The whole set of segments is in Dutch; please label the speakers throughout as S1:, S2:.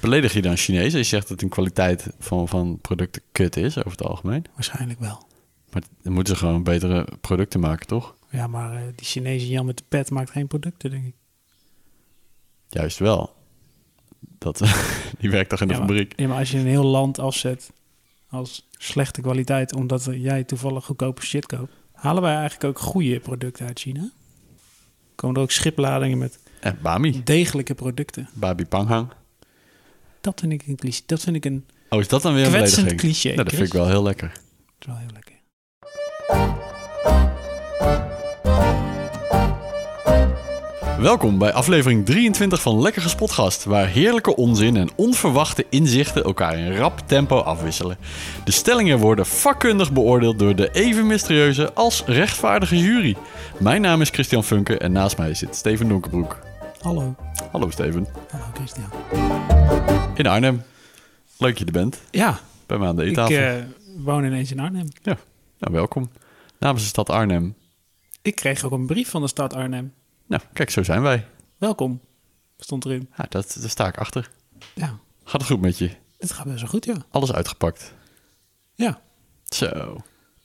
S1: beledig je dan Chinezen? Je zegt dat een kwaliteit van, van producten kut is over het algemeen.
S2: Waarschijnlijk wel.
S1: Maar dan moeten ze gewoon betere producten maken, toch?
S2: Ja, maar eh, die Chinese Jan met de pet maakt geen producten, denk ik.
S1: Juist wel. Dat, die werkt toch in de
S2: ja, maar-
S1: fabriek?
S2: ja, maar als je een heel land afzet als slechte kwaliteit... omdat jij toevallig goedkope shit koopt... halen wij eigenlijk ook goede producten uit China. Komen er ook schipladingen met
S1: En Bami.
S2: degelijke producten.
S1: Babi Panghang.
S2: Dat vind ik een cliché. Dat vind ik een...
S1: Oh, is dat dan weer een
S2: Kwetsend
S1: belediging?
S2: cliché,
S1: Nou, dat
S2: Chris.
S1: vind ik wel heel lekker.
S2: Dat is wel heel lekker.
S1: Welkom bij aflevering 23 van Lekker Gespot Gast, waar heerlijke onzin en onverwachte inzichten elkaar in rap tempo afwisselen. De stellingen worden vakkundig beoordeeld door de even mysterieuze als rechtvaardige jury. Mijn naam is Christian Funke en naast mij zit Steven Donkerbroek.
S2: Hallo.
S1: Hallo Steven.
S2: Hallo, Christian.
S1: In Arnhem. Leuk dat je er bent
S2: Ja,
S1: bij me aan de
S2: ik
S1: eettafel.
S2: eh, woon ineens in Arnhem.
S1: Ja, nou welkom. Namens de stad Arnhem.
S2: Ik kreeg ook een brief van de stad Arnhem.
S1: Nou, kijk, zo zijn wij.
S2: Welkom, stond erin.
S1: Ja, dat, daar sta ik achter.
S2: Ja,
S1: Gaat het goed met je?
S2: dit gaat best wel goed, ja.
S1: Alles uitgepakt.
S2: Ja.
S1: Zo.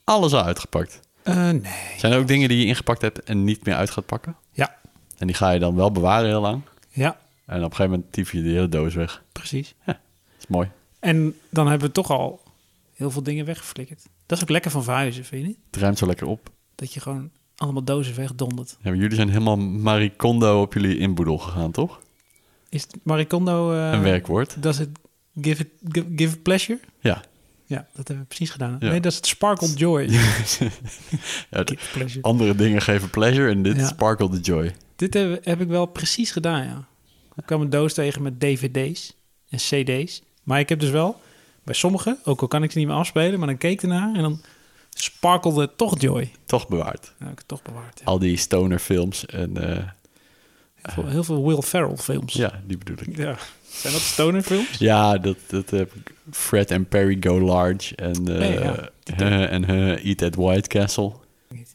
S1: Alles al uitgepakt.
S2: Eh, nee.
S1: Zijn er ook dingen die je ingepakt hebt en niet meer uit gaat pakken?
S2: Ja.
S1: En die ga je dan wel bewaren heel lang.
S2: Ja,
S1: En op een gegeven moment tief je de hele doos weg.
S2: precies.
S1: Dat is mooi.
S2: En dan hebben we toch al heel veel dingen weggeflikkerd. Dat is ook lekker van verhuizen, vind je niet?
S1: Het ruimt zo lekker op.
S2: Dat je gewoon allemaal dozen wegdondert.
S1: Ja, maar jullie zijn helemaal Marie Kondo op jullie inboedel gegaan, toch?
S2: Is het Maricondo... eh,
S1: Een werkwoord.
S2: Dat is het give, it, give, give pleasure?
S1: Ja.
S2: Ja, dat hebben we precies gedaan.
S1: Ja.
S2: Nee, dat is het sparkle joy.
S1: Ja, de-
S2: Give pleasure.
S1: andere dingen geven pleasure en dit
S2: Ja.
S1: sparkle the joy.
S2: Dit heb, heb ik wel precies gedaan, ja. Ik kwam een doos tegen met dvd's en cd's. Maar ik heb dus wel bij sommige, ook al kan ik ze niet meer afspelen... maar dan keek ik ernaar en dan sparkelde toch joy.
S1: Toch bewaard.
S2: Dat heb ik het toch bewaard. ja.
S1: Al die stoner films en eh,
S2: Heel veel- heel veel Will Ferrell films.
S1: ja, die bedoel ik.
S2: Ja. Zijn dat stoner films?
S1: Ja, dat, dat heb ik. Fred en Perry Go Large en, eh,
S2: Nee, ja.
S1: eh, en eh, Eat at White Castle.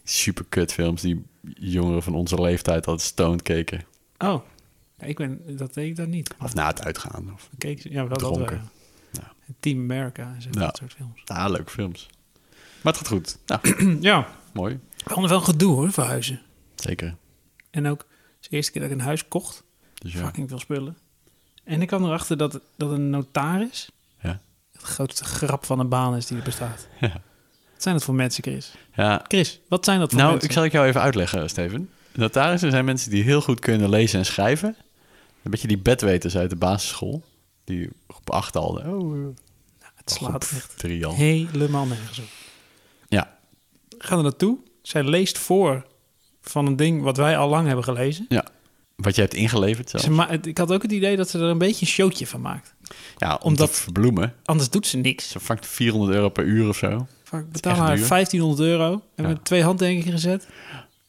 S1: Super kut films die jongeren van onze leeftijd altijd stoned keken.
S2: Oh, Ja, ik ben, dat deed ik dan niet.
S1: Of na het uitgaan. Of,
S2: Ik keek, ze- ja, wel dat wel,
S1: Dronken.
S2: ja.
S1: Ja.
S2: Team America en zo,
S1: Ja.
S2: dat soort films. Hm,
S1: ah, leuke films. Maar het gaat goed. Nou,
S2: Ja,
S1: mooi.
S2: we hadden wel gedoe hoor, verhuizen.
S1: Zeker.
S2: En ook, het is de eerste keer dat ik een huis kocht.
S1: Dus ja.
S2: Fucking veel spullen. En ik kwam erachter dat, dat een notaris...
S1: Ja.
S2: het grootste grap van een baan is die er bestaat.
S1: Ja.
S2: Wat zijn dat voor mensen, Chris?
S1: ja.
S2: Chris, wat zijn dat voor
S1: Nou,
S2: mensen?
S1: ik zal ik jou even uitleggen, Steven. Notarissen zijn mensen die heel goed kunnen lezen en schrijven. Een beetje die bedweters uit de basisschool. Die op acht al. Oh, eh,
S2: Nou, Het slaat
S1: groep
S2: echt
S1: drie al.
S2: helemaal nergens op.
S1: Ja,
S2: Ga er naartoe. Zij leest voor van een ding wat wij al lang hebben gelezen.
S1: ja. Wat je hebt ingeleverd zelf.
S2: Ze ma- het- ik had ook het idee dat ze er een beetje een showtje van maakt.
S1: Ja, om
S2: Omdat-
S1: te verbloemen.
S2: Anders doet ze niks.
S1: Ze vangt 400 euro per uur of zo.
S2: Vaak
S1: is
S2: betaal
S1: echt
S2: haar
S1: duur.
S2: 1500 euro.
S1: Ja.
S2: Hebben we twee handtekeningen gezet.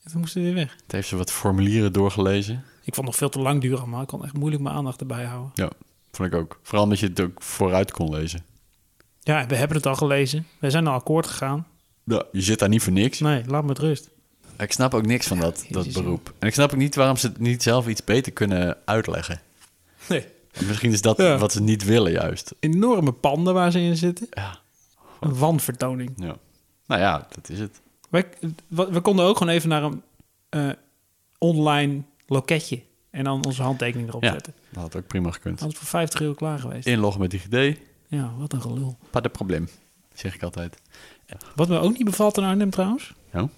S2: En toen moesten we weer weg.
S1: Het heeft ze wat formulieren doorgelezen.
S2: Ik vond het nog veel te lang duren, maar ik kon echt moeilijk mijn aandacht erbij houden.
S1: Ja, vond ik ook. Vooral omdat je het ook vooruit kon lezen.
S2: Ja, we hebben het al gelezen. We zijn al akkoord gegaan.
S1: Ja, je zit daar niet voor niks.
S2: Nee, laat me met rust.
S1: Ik snap ook niks van dat,
S2: Ja,
S1: dat
S2: jezus, ja.
S1: beroep. En ik snap ook niet waarom ze het niet zelf iets beter kunnen uitleggen.
S2: Nee.
S1: Misschien is dat
S2: Ja.
S1: wat ze niet willen juist.
S2: Enorme panden waar ze in zitten.
S1: Ja.
S2: Een wanvertoning.
S1: ja. Nou ja, dat is het.
S2: Wij, we, we konden ook gewoon even naar een eh, online loketje. En dan onze handtekening erop
S1: Ja,
S2: zetten.
S1: dat had ook prima gekund.
S2: Had het voor 50 euro klaar geweest.
S1: Inloggen met DigiD,
S2: Ja, wat een gelul.
S1: pas de probleem, zeg ik altijd.
S2: Wat me ook niet bevalt in Arnhem trouwens.
S1: Nou,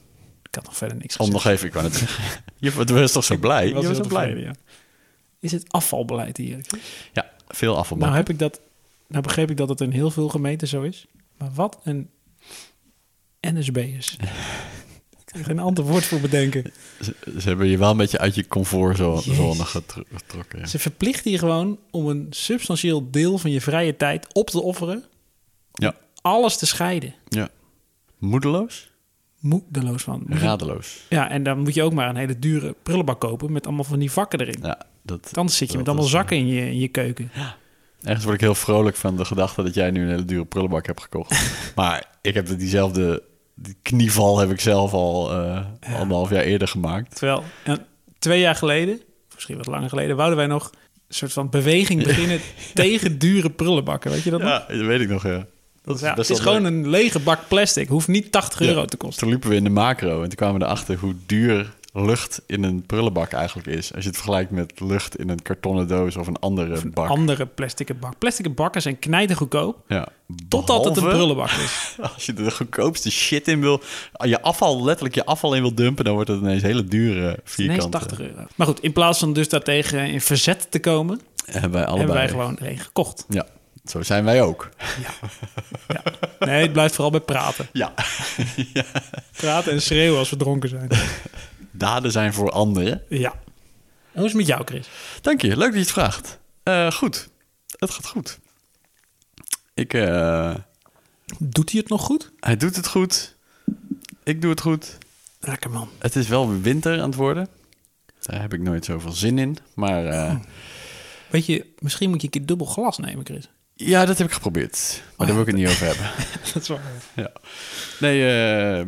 S2: Ik had nog verder niks
S1: om nog even, ik wou het zeggen. Je was toch zo blij?
S2: Ik was
S1: Je was
S2: heel
S1: zo blij.
S2: tevreden, ja. Is het afvalbeleid hier?
S1: Ja, veel afvalbak.
S2: Nou, heb ik dat, nou begreep ik dat het in heel veel gemeenten zo is. Maar wat een NSB is. ik kan er geen ander woord voor bedenken.
S1: Ze, ze hebben je wel een beetje uit je comfortzone
S2: Jezus.
S1: getro- getrokken. ja.
S2: Ze verplichten je gewoon om een substantieel deel van je vrije tijd op te offeren.
S1: Ja.
S2: Alles te scheiden.
S1: ja. Moedeloos?
S2: Moedeloos van. Moet je-
S1: Radeloos.
S2: Ja, en dan moet je ook maar een hele dure prullenbak kopen met allemaal van die vakken erin.
S1: Ja, dat,
S2: Anders zit je met
S1: dat
S2: allemaal
S1: is- eh,
S2: zakken in je, in je keuken.
S1: Ergens word ik heel vrolijk van de gedachte dat jij nu een hele dure prullenbak hebt gekocht. maar ik heb diezelfde die knieval heb ik zelf al eh, anderhalf jaar eerder gemaakt.
S2: eh, Terwijl en twee jaar geleden, misschien wat langer geleden, wouden wij nog soort van beweging beginnen tegen dure prullenbakken. Weet je dat nog?
S1: Ja, dat weet ik nog, ja. Dat
S2: Ja, het
S1: best
S2: is
S1: wel
S2: gewoon
S1: leuk.
S2: een lege bak plastic. Hoeft niet 80
S1: Ja.
S2: euro te kosten.
S1: Dus Toen liepen we in de macro en toen kwamen we erachter hoe duur lucht in een prullenbak eigenlijk is. Als je het vergelijkt met lucht in een kartonnen doos of een andere bak.
S2: Andere plastic bak. Plastic bakken zijn knijtergoedkoop.
S1: ja.
S2: Totdat het een
S1: Behalve-
S2: prullenbak is.
S1: Als je de goedkoopste shit in wil, je afval, letterlijk je afval in wil dumpen, dan wordt het ineens hele dure
S2: Ineens
S1: vierkante.
S2: 80 euro. Maar goed, in plaats van dus daartegen in verzet te komen,
S1: Hebben wij allebei.
S2: hebben wij gewoon er een gekocht.
S1: Ja, zo zijn wij ook.
S2: Nee, het blijft vooral bij praten.
S1: Ja,
S2: Praten en schreeuwen als we dronken zijn.
S1: daden zijn voor anderen.
S2: Ja. Hoe is het met jou, Chris?
S1: Dank je, leuk dat je het vraagt. Eh, goed, het gaat goed. Ik, eh,
S2: Doet hij het nog goed?
S1: hij doet het goed. Ik doe het goed.
S2: Lekker man.
S1: Het is wel weer winter aan het worden. Daar heb ik nooit zoveel zin in. Maar eh,
S2: Oh. Weet je, misschien moet je een keer dubbel glas nemen, Chris.
S1: ja, dat heb ik geprobeerd. Maar daar wil ik het niet over hebben.
S2: Dat is waar.
S1: ja. Nee, eh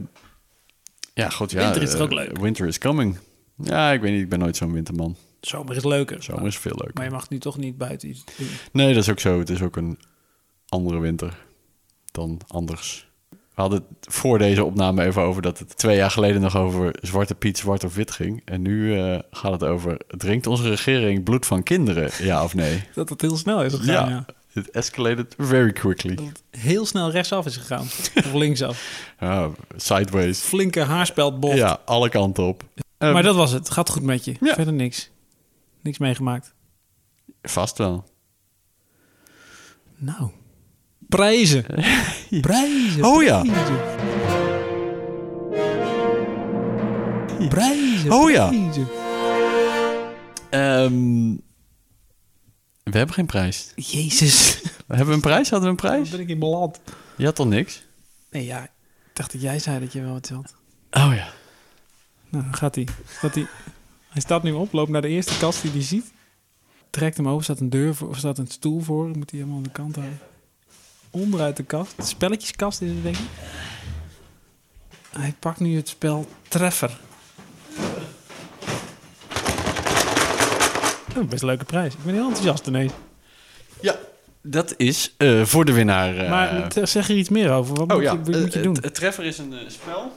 S1: ja, goed. Ja,
S2: Winter is toch
S1: eh,
S2: ook leuk?
S1: Winter is coming. Ja, ik weet niet. Ik ben nooit zo'n winterman.
S2: Zomer is leuker.
S1: Zomer is veel
S2: Maar
S1: leuker.
S2: je mag nu toch niet buiten iets doen.
S1: Nee, dat is ook zo. Het is ook een andere winter dan anders. We hadden het voor deze opname even over dat het twee jaar geleden nog over Zwarte Piet, Zwart of Wit ging. En nu eh, gaat het over, drinkt onze regering bloed van kinderen, ja of nee?
S2: Dat het heel snel is gegaan, ja.
S1: Het escalated very quickly.
S2: Dat het heel snel rechtsaf is gegaan. of linksaf.
S1: Ja, Ah, sideways.
S2: Flinke haarspeldbocht.
S1: Ja, alle kanten op. Eh,
S2: Maar dat was het. Gaat goed met je.
S1: Ja.
S2: Verder niks. Niks meegemaakt.
S1: Vast wel.
S2: Nou. Prijzen. Prijzen.
S1: Oh ja.
S2: Prijzen. Prijzen.
S1: Oh ja.
S2: prijzen.
S1: Ehm, we hebben geen prijs.
S2: Jezus.
S1: Hebben we een prijs? Hadden we een
S2: Dan
S1: prijs?
S2: ben ik in beland.
S1: Je had toch niks?
S2: Nee, ja. Ik dacht dat jij zei dat je wel wat had.
S1: Oh ja.
S2: Nou, dan gaat hij. Gaat hij. Hij staat nu op, loopt naar de eerste kast die hij ziet. Trekt hem over, staat een deur voor, of staat een stoel voor. Dan Moet hij helemaal aan de kant houden. Onderuit de kast. De spelletjeskast is het, denk ik. Hij pakt nu het spel Treffer. Oh, best een leuke prijs. Ik ben heel enthousiast ineens.
S1: Ja, dat is eh, voor de winnaar. eh,
S2: maar t- zeg er iets meer over. Wat
S1: oh
S2: moet,
S1: ja,
S2: je, wat moet je
S1: eh,
S2: doen?
S1: Het, het treffer is een eh, spel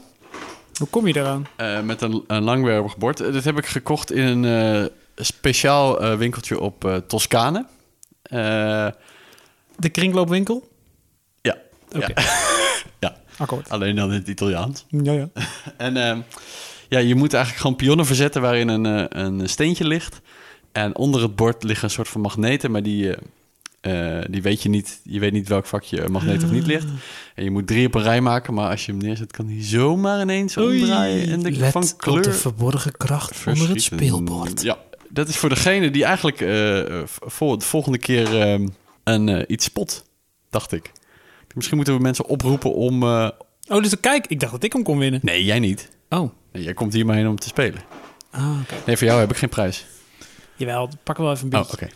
S2: Hoe kom je daaraan?
S1: eh, met een, een langwerpig bord. Eh, dit heb ik gekocht in een eh, speciaal eh, winkeltje op eh Toscane. Eh,
S2: De kringloopwinkel?
S1: ja,
S2: Oké.
S1: Ja.
S2: Akkoord.
S1: alleen dan in het Italiaans.
S2: Ja, ja.
S1: En ehm, ja, je moet eigenlijk gewoon pionnen verzetten waarin een, eh, een steentje ligt. En onder het bord liggen een soort van magneten, maar die, eh, eh, die weet je niet. Je weet niet welk vakje magneet of niet
S2: Ah.
S1: ligt. En je moet drie op een rij maken, maar als je hem neerzet, kan hij zomaar ineens omdraaien. En de,
S2: Let
S1: van
S2: op de
S1: kleur
S2: verborgen kracht onder het
S1: verschieten.
S2: speelbord.
S1: Ja, dat is voor degene die eigenlijk eh, eh, voor de volgende keer ehm, een, eh, iets spot, dacht ik. Misschien moeten we mensen oproepen om... eh,
S2: Oh, dus kijk, ik dacht dat ik hem kon winnen.
S1: nee, jij niet.
S2: Oh,
S1: Nee, Jij komt hier maar heen om te spelen.
S2: ah,
S1: Nee, voor jou heb ik geen prijs.
S2: jawel, pak wel even een
S1: Oh,
S2: biertje.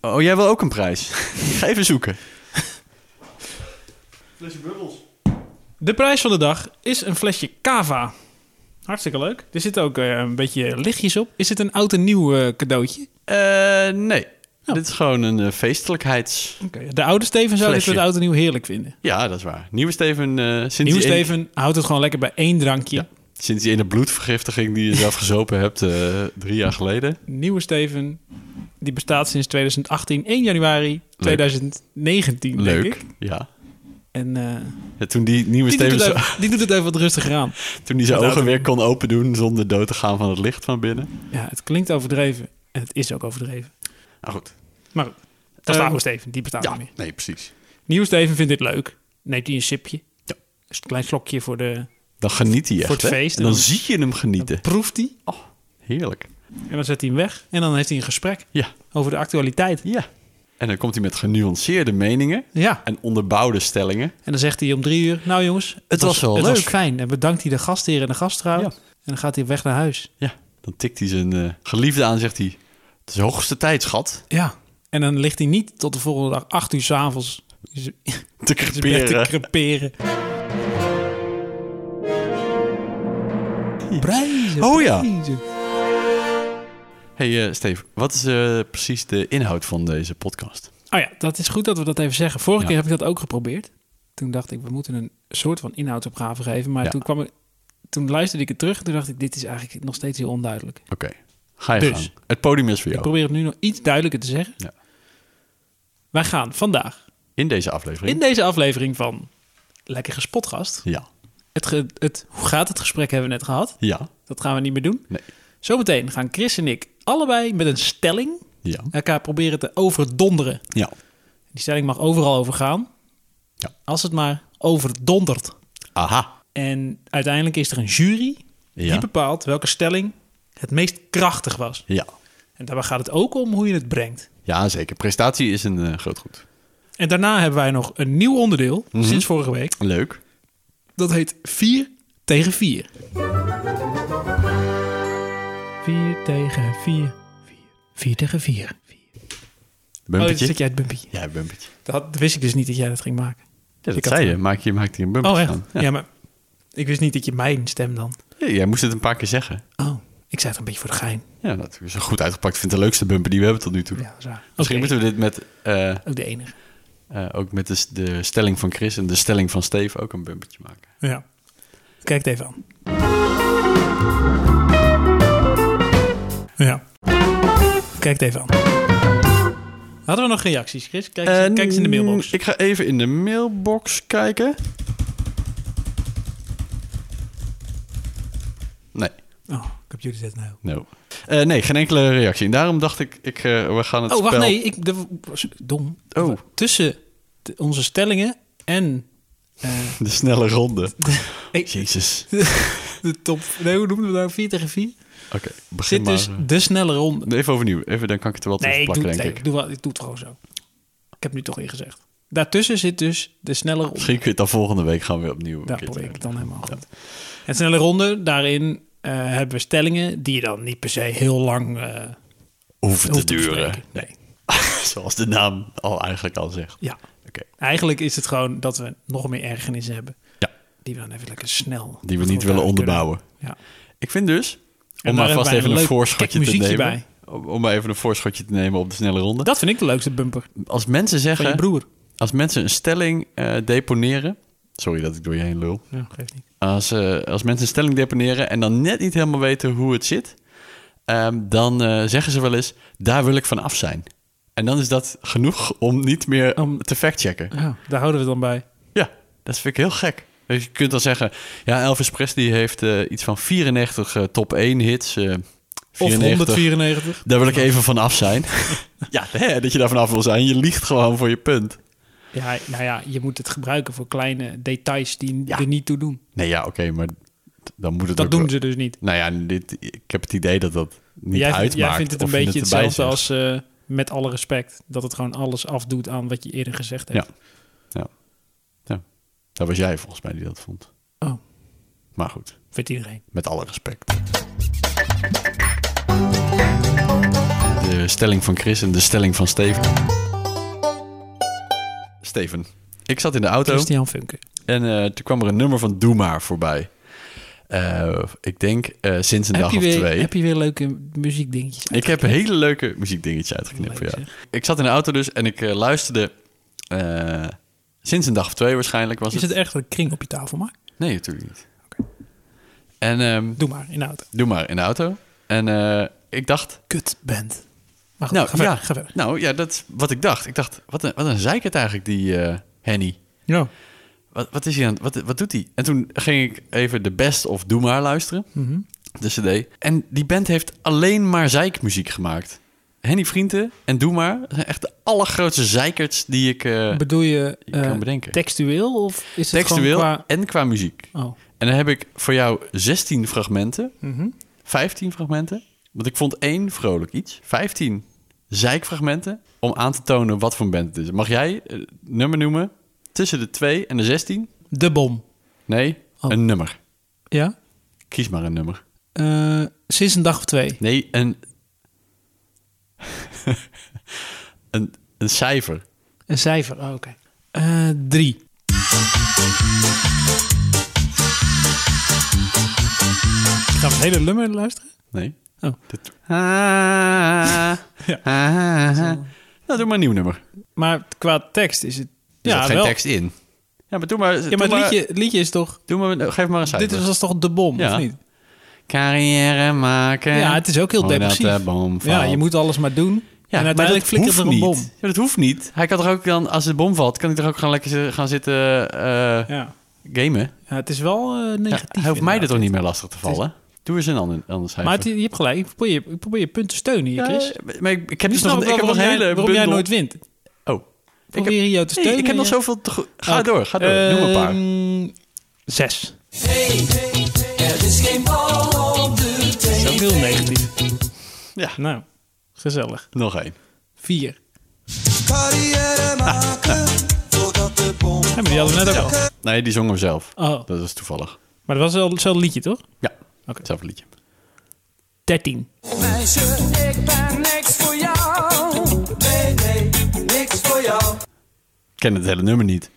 S1: oké. Oh, jij wil ook een prijs? Ga even zoeken. Flesje bubbels.
S2: De prijs van de dag is een flesje cava. Hartstikke leuk. Er zitten ook eh, een beetje lichtjes op. Is het een oud en nieuw eh, cadeautje?
S1: Eh, nee.
S2: Oh.
S1: Dit is gewoon een eh, feestelijkheids...
S2: De oude Steven zou dit
S1: Flesje.
S2: met oud en nieuw heerlijk vinden.
S1: Ja, dat is waar. Nieuwe Steven... eh, sinds
S2: Nieuw
S1: die ene-
S2: Steven houdt het gewoon lekker bij één drankje.
S1: Ja. Sinds die ene bloedvergiftiging die je zelf gezopen hebt eh, drie jaar geleden.
S2: Nieuwe Steven, die bestaat sinds 2018, 1 januari 2019,
S1: Leuk.
S2: denk ik.
S1: Ja.
S2: En eh,
S1: Ja, toen die nieuwe
S2: die,
S1: Steven...
S2: doet het
S1: zo-
S2: even, die doet het even wat rustiger aan.
S1: Toen die zijn
S2: Met
S1: ogen
S2: auto.
S1: weer kon open doen zonder dood te gaan van het licht van binnen.
S2: Ja, het klinkt overdreven. En het is ook overdreven.
S1: Nou goed.
S2: Maar goed, dat is
S1: Ehm,
S2: de oude Steven. Die bestaat
S1: Ja,
S2: niet meer.
S1: nee, precies.
S2: Nieuw Steven vindt dit leuk. Neemt hij een sipje.
S1: Ja.
S2: Dus een klein slokje voor de...
S1: Dan geniet hij echt,
S2: Voor het
S1: hè?
S2: feest
S1: En
S2: en
S1: dan
S2: dan-
S1: zie je hem genieten.
S2: Proeft hij.
S1: Heerlijk.
S2: En dan zet hij hem weg. En dan heeft hij een gesprek
S1: Ja.
S2: over de actualiteit.
S1: Ja. En dan komt hij met genuanceerde meningen
S2: Ja.
S1: en onderbouwde stellingen.
S2: En dan zegt hij om drie uur... Nou jongens, het,
S1: was wel
S2: het
S1: leuk.
S2: was fijn. En bedankt hij de gastheer en de gastvrouw.
S1: Ja.
S2: En dan gaat hij weg naar huis.
S1: Ja. Dan tikt hij zijn eh, geliefde aan en zegt hij... Het is hoogste tijd, schat,
S2: Ja. En dan ligt hij niet tot de volgende dag acht uur s'avonds... in
S1: te
S2: zijn bed te
S1: creperen.
S2: creperen. Prijzen,
S1: Oh ja.
S2: prijzen.
S1: hey, eh, Steve, wat is eh, precies de inhoud van deze podcast?
S2: Oh ja, dat is goed dat we dat even zeggen. Vorige
S1: Ja.
S2: keer heb ik dat ook geprobeerd. Toen dacht ik, we moeten een soort van inhoudsopgave geven. Maar
S1: Ja.
S2: toen, kwam ik, toen luisterde ik het terug en toen dacht ik, dit is eigenlijk nog steeds heel onduidelijk.
S1: Oké, ga je
S2: Dus.
S1: gang. Het podium is voor
S2: Ik
S1: jou.
S2: probeer het nu nog iets duidelijker te zeggen.
S1: Ja.
S2: Wij gaan vandaag
S1: In deze aflevering?
S2: in deze aflevering van Lekker Gespotgast.
S1: Ja.
S2: Het ge- het, hoe gaat het gesprek hebben we net gehad?
S1: Ja.
S2: Dat gaan we niet meer doen.
S1: Nee.
S2: Zometeen gaan Chris en ik allebei met een stelling
S1: Ja.
S2: elkaar proberen te overdonderen.
S1: Ja.
S2: Die stelling mag overal over gaan.
S1: Ja.
S2: Als het maar overdondert.
S1: Aha.
S2: En uiteindelijk is er een jury
S1: Ja.
S2: die bepaalt welke stelling het meest krachtig was.
S1: Ja.
S2: En daarbij gaat het ook om hoe je het brengt.
S1: Ja, zeker. Prestatie is een eh, groot goed.
S2: En daarna hebben wij nog een nieuw onderdeel
S1: Mhm.
S2: sinds vorige week.
S1: Leuk.
S2: Dat heet 4 tegen 4. 4 tegen 4. 4 tegen 4. Oh, dan
S1: Bumpertje?
S2: zit jij het bumpetje.
S1: Ja, bumpertje.
S2: Dat wist ik dus niet dat jij dat ging maken.
S1: Ja, dat
S2: Ik had
S1: zei je. Maak je maakt hier een
S2: Oh,
S1: bumpertje
S2: echt?
S1: van.
S2: Ja. maar ik wist niet dat je mijn stem dan.
S1: Ja, jij moest het een paar keer zeggen.
S2: Oh, ik zei het een beetje voor de gein.
S1: Ja, dat is goed uitgepakt. Ik vind het de leukste bumper die we hebben tot nu toe.
S2: Ja, dat is waar.
S1: Misschien
S2: Oké,
S1: moeten we dit met, eh,
S2: Ook de enige.
S1: eh, ook met de, s- de stelling van Chris en de stelling van Steve ook een bumpertje maken.
S2: Ja. Kijk het even aan. Ja. Kijk het even aan. Hadden we nog reacties, Chris? Kijk, eens- kijk eens in de mailbox.
S1: Eh, Ik ga even in de mailbox kijken. Nee,
S2: Oh, computer zet nou.
S1: no. Eh, nee, geen enkele reactie. En daarom dacht ik, ik eh, we gaan het
S2: Oh, wacht,
S1: spel...
S2: nee. Ik dat was dom.
S1: Oh.
S2: Tussen de- onze stellingen en eh,
S1: De snelle ronde.
S2: Hey.
S1: Jezus.
S2: de top... Nee, hoe noemen we dat? 4 tegen 4?
S1: Oké, begin
S2: Zit
S1: maar.
S2: dus de snelle ronde.
S1: eh, Even overnieuw. Even, dan kan ik het er wel
S2: Nee,
S1: tussen
S2: ik doe,
S1: plakken,
S2: het,
S1: denk
S2: ik
S1: ik.
S2: doe wel- ik doe het gewoon zo. Ik heb nu toch ingezegd. Daartussen zit dus de snelle ronde.
S1: Misschien kun je het dan volgende week gaan weer opnieuw. een
S2: Daar
S1: keer eh,
S2: probeer ik het
S1: doen.
S2: dan helemaal goed. Het snelle ronde, daarin eh, hebben we stellingen die je dan niet per se heel lang eh
S1: Hoeft het te
S2: hoeft te
S1: duren.
S2: bespreken. Nee.
S1: Zoals de naam al eigenlijk al zegt.
S2: Ja.
S1: Oké.
S2: Eigenlijk is het gewoon dat we nog meer ergernissen hebben.
S1: Ja.
S2: Die we dan even lekker snel...
S1: Die we
S2: voor
S1: niet willen
S2: elkaar
S1: onderbouwen.
S2: kunnen. Ja.
S1: Ik vind dus, om
S2: daar
S1: maar
S2: hebben
S1: vast
S2: wij
S1: even
S2: een
S1: een,
S2: leuk
S1: voorschotje te
S2: muziekje
S1: nemen.
S2: bij.
S1: Om om maar even een voorschotje te nemen op de snelle ronde.
S2: Dat vind ik de leukste bumper.
S1: Als mensen
S2: Van je
S1: zeggen,
S2: broer.
S1: als mensen een stelling eh, deponeren. Sorry dat ik door je heen lul.
S2: Ja, geeft niet.
S1: Als, eh, als mensen een stelling deponeren en dan net niet helemaal weten hoe het zit, ehm, dan eh, zeggen ze wel eens: daar wil ik van af zijn. En dan is dat genoeg om niet meer
S2: Om-
S1: te factchecken.
S2: Ja, daar houden we het dan bij.
S1: Ja, dat vind ik heel gek. Dus je kunt dan zeggen, ja, Elvis Presley heeft eh, iets van 94 eh, top 1 hits. eh,
S2: Of
S1: 94.
S2: 194.
S1: Daar wil ik even van af zijn. ja, hè, dat je daar van af wil zijn. Je liegt gewoon voor je punt.
S2: Ja, nou ja, je moet het gebruiken voor kleine details die
S1: Ja.
S2: er niet toe doen.
S1: Nee, ja, oké, maar t- dan moet het
S2: Dat
S1: ook
S2: doen
S1: wel-
S2: ze dus niet.
S1: Nou ja, dit, ik heb het idee dat dat niet
S2: jij,
S1: uitmaakt.
S2: jij vindt het een
S1: of je
S2: beetje
S1: erbij
S2: hetzelfde
S1: zegt.
S2: als eh, met alle respect. Dat het gewoon alles afdoet aan wat je eerder gezegd hebt.
S1: Dat was jij volgens mij die dat vond.
S2: Oh,
S1: Maar goed,
S2: vindt iedereen.
S1: met alle respect. De stelling van Chris en de stelling van Steven. Steven, ik zat in de auto.
S2: Christian Funke.
S1: En eh, toen kwam er een nummer van Doe Maar voorbij. Eh, ik denk eh, sinds een
S2: Heb
S1: dag
S2: je,
S1: of
S2: weer,
S1: twee.
S2: heb je weer leuke muziekdingetjes?
S1: Ik heb hele leuke muziekdingetjes uitgeknipt voor
S2: Leuk,
S1: jou. Ik zat in de auto dus en ik eh, luisterde... eh, sinds een dag of twee waarschijnlijk was
S2: Is
S1: het.
S2: het echt een kring op je tafel maakt?
S1: Nee, natuurlijk niet. En ehm,
S2: Doe maar, in de auto.
S1: doe maar in de auto. En eh, ik dacht...
S2: Kut band. Maar goed,
S1: Nou,
S2: ga verder.
S1: ja,
S2: Ga verder.
S1: nou ja, dat is wat ik dacht. Ik dacht, wat een, wat een zeikert eigenlijk die eh Henny.
S2: Ja.
S1: Wat, wat, is hij aan, het- wat, wat doet hij? En toen ging ik even de best of Doe Maar luisteren.
S2: Mhm.
S1: de CD. En die band heeft alleen maar zeikmuziek gemaakt. Henny Vrienden en Doe Maar zijn echt de allergrootste zeikerts die ik eh,
S2: Bedoel je
S1: je kan
S2: eh,
S1: bedenken.
S2: textueel of is het
S1: Textueel
S2: gewoon
S1: en qua muziek.
S2: qua... Oh.
S1: En dan heb ik voor jou 16 fragmenten,
S2: Mhm.
S1: 15 fragmenten. Want ik vond één vrolijk iets. 15 zeikfragmenten om aan te tonen wat voor een band het is. Mag jij eh, het nummer noemen tussen de 2 en de 16?
S2: De bom.
S1: Nee,
S2: Oh.
S1: een nummer.
S2: Ja?
S1: Kies maar een nummer.
S2: Eh, sinds een dag of twee.
S1: Nee, een... een, een cijfer.
S2: Een cijfer. Oh, oké. Eh, drie. Gaan we het hele nummer luisteren?
S1: Nee.
S2: Oh.
S1: Dit-
S3: Ah,
S2: Ja.
S3: ah, ah.
S1: nou, doe maar een nieuw nummer.
S2: Maar qua tekst is het...
S1: Er
S2: ja,
S1: zat geen
S2: wel.
S1: tekst in. Ja, maar doe maar...
S2: Ja, maar
S1: doe
S2: het liedje, het liedje is toch...
S1: doe maar, geef maar een cijfer.
S2: Dit is, was toch de bom,
S1: Ja.
S2: of niet?
S3: Carrière maken.
S2: Ja, het is ook heel
S1: Mooi dat
S2: depressief.
S1: de bom
S2: ja,
S1: valt.
S2: je moet alles maar doen. en uiteindelijk flikkert er een
S1: niet.
S2: bom.
S1: Ja, dat hoeft niet. Hij kan toch ook dan, als de bom valt, kan hij toch ook gewoon lekker zi- gaan zitten eh,
S2: Ja.
S1: gamen?
S2: ja, het is wel eh,
S1: Ja,
S2: negatief.
S1: hij hoeft mij
S2: inderdaad.
S1: dat toch niet meer lastig te vallen? Doe eens een ander, ander cijfer.
S2: Maar het- je hebt gelijk. Ik probeer je, ik probeer je punt te steunen hier,
S1: Ja,
S2: Chris.
S1: maar ik, ik heb
S2: Nu
S1: dus nog
S2: eh, snap
S1: een,
S2: ik
S1: ik heb nog
S2: wel waarom,
S1: een
S2: jij,
S1: hele
S2: waarom
S1: bundel...
S2: jij nooit wint.
S1: Oh. Ik heb,
S2: Probeer jou te
S1: nee,
S2: steunen. Ah,
S1: ik heb nog
S2: ja.
S1: zoveel te go- Ga
S2: Oké.
S1: door, ga door. Noem een paar.
S2: Ehm, Zes.
S4: Er is geen bal op de
S2: Dat is ook heel negatief.
S1: Ja.
S2: Nou, gezellig.
S1: Nog één.
S2: Vier.
S4: carrière maken. Voordat de bom.
S2: Ja, maar die hadden we net ook al.
S1: Nee, die zongen we zelf.
S2: Oh,
S1: Dat is toevallig.
S2: maar dat was wel hetzelfde liedje, toch?
S1: Ja,
S2: Oké.
S1: hetzelfde liedje.
S2: Dertien.
S4: Meisje, ik ben niks voor jou. Nee, nee, niks voor jou.
S1: Ik ken het hele nummer niet.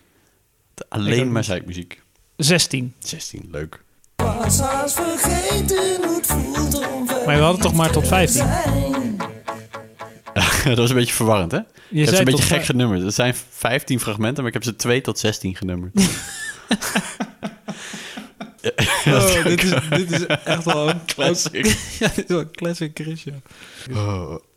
S2: Ik
S1: Alleen
S2: ook
S1: maar zijkmuziek.
S2: Zestien.
S1: 16, leuk.
S4: Was haast vergeten hoe het voelt om weg
S2: Maar we hadden toch maar tot
S4: te
S2: vijftien.
S4: zijn.
S1: dat was een beetje verwarrend, hè? Je hebt
S2: zei
S1: ze een beetje
S2: tot
S1: gek
S2: vijf.
S1: genummerd. Er zijn 15 fragmenten, maar ik heb ze 2 tot 16 genummerd.
S2: Oh, dit is, dit is echt wel een
S1: Classic.
S2: ja, dit is wel een classic Chris, ja.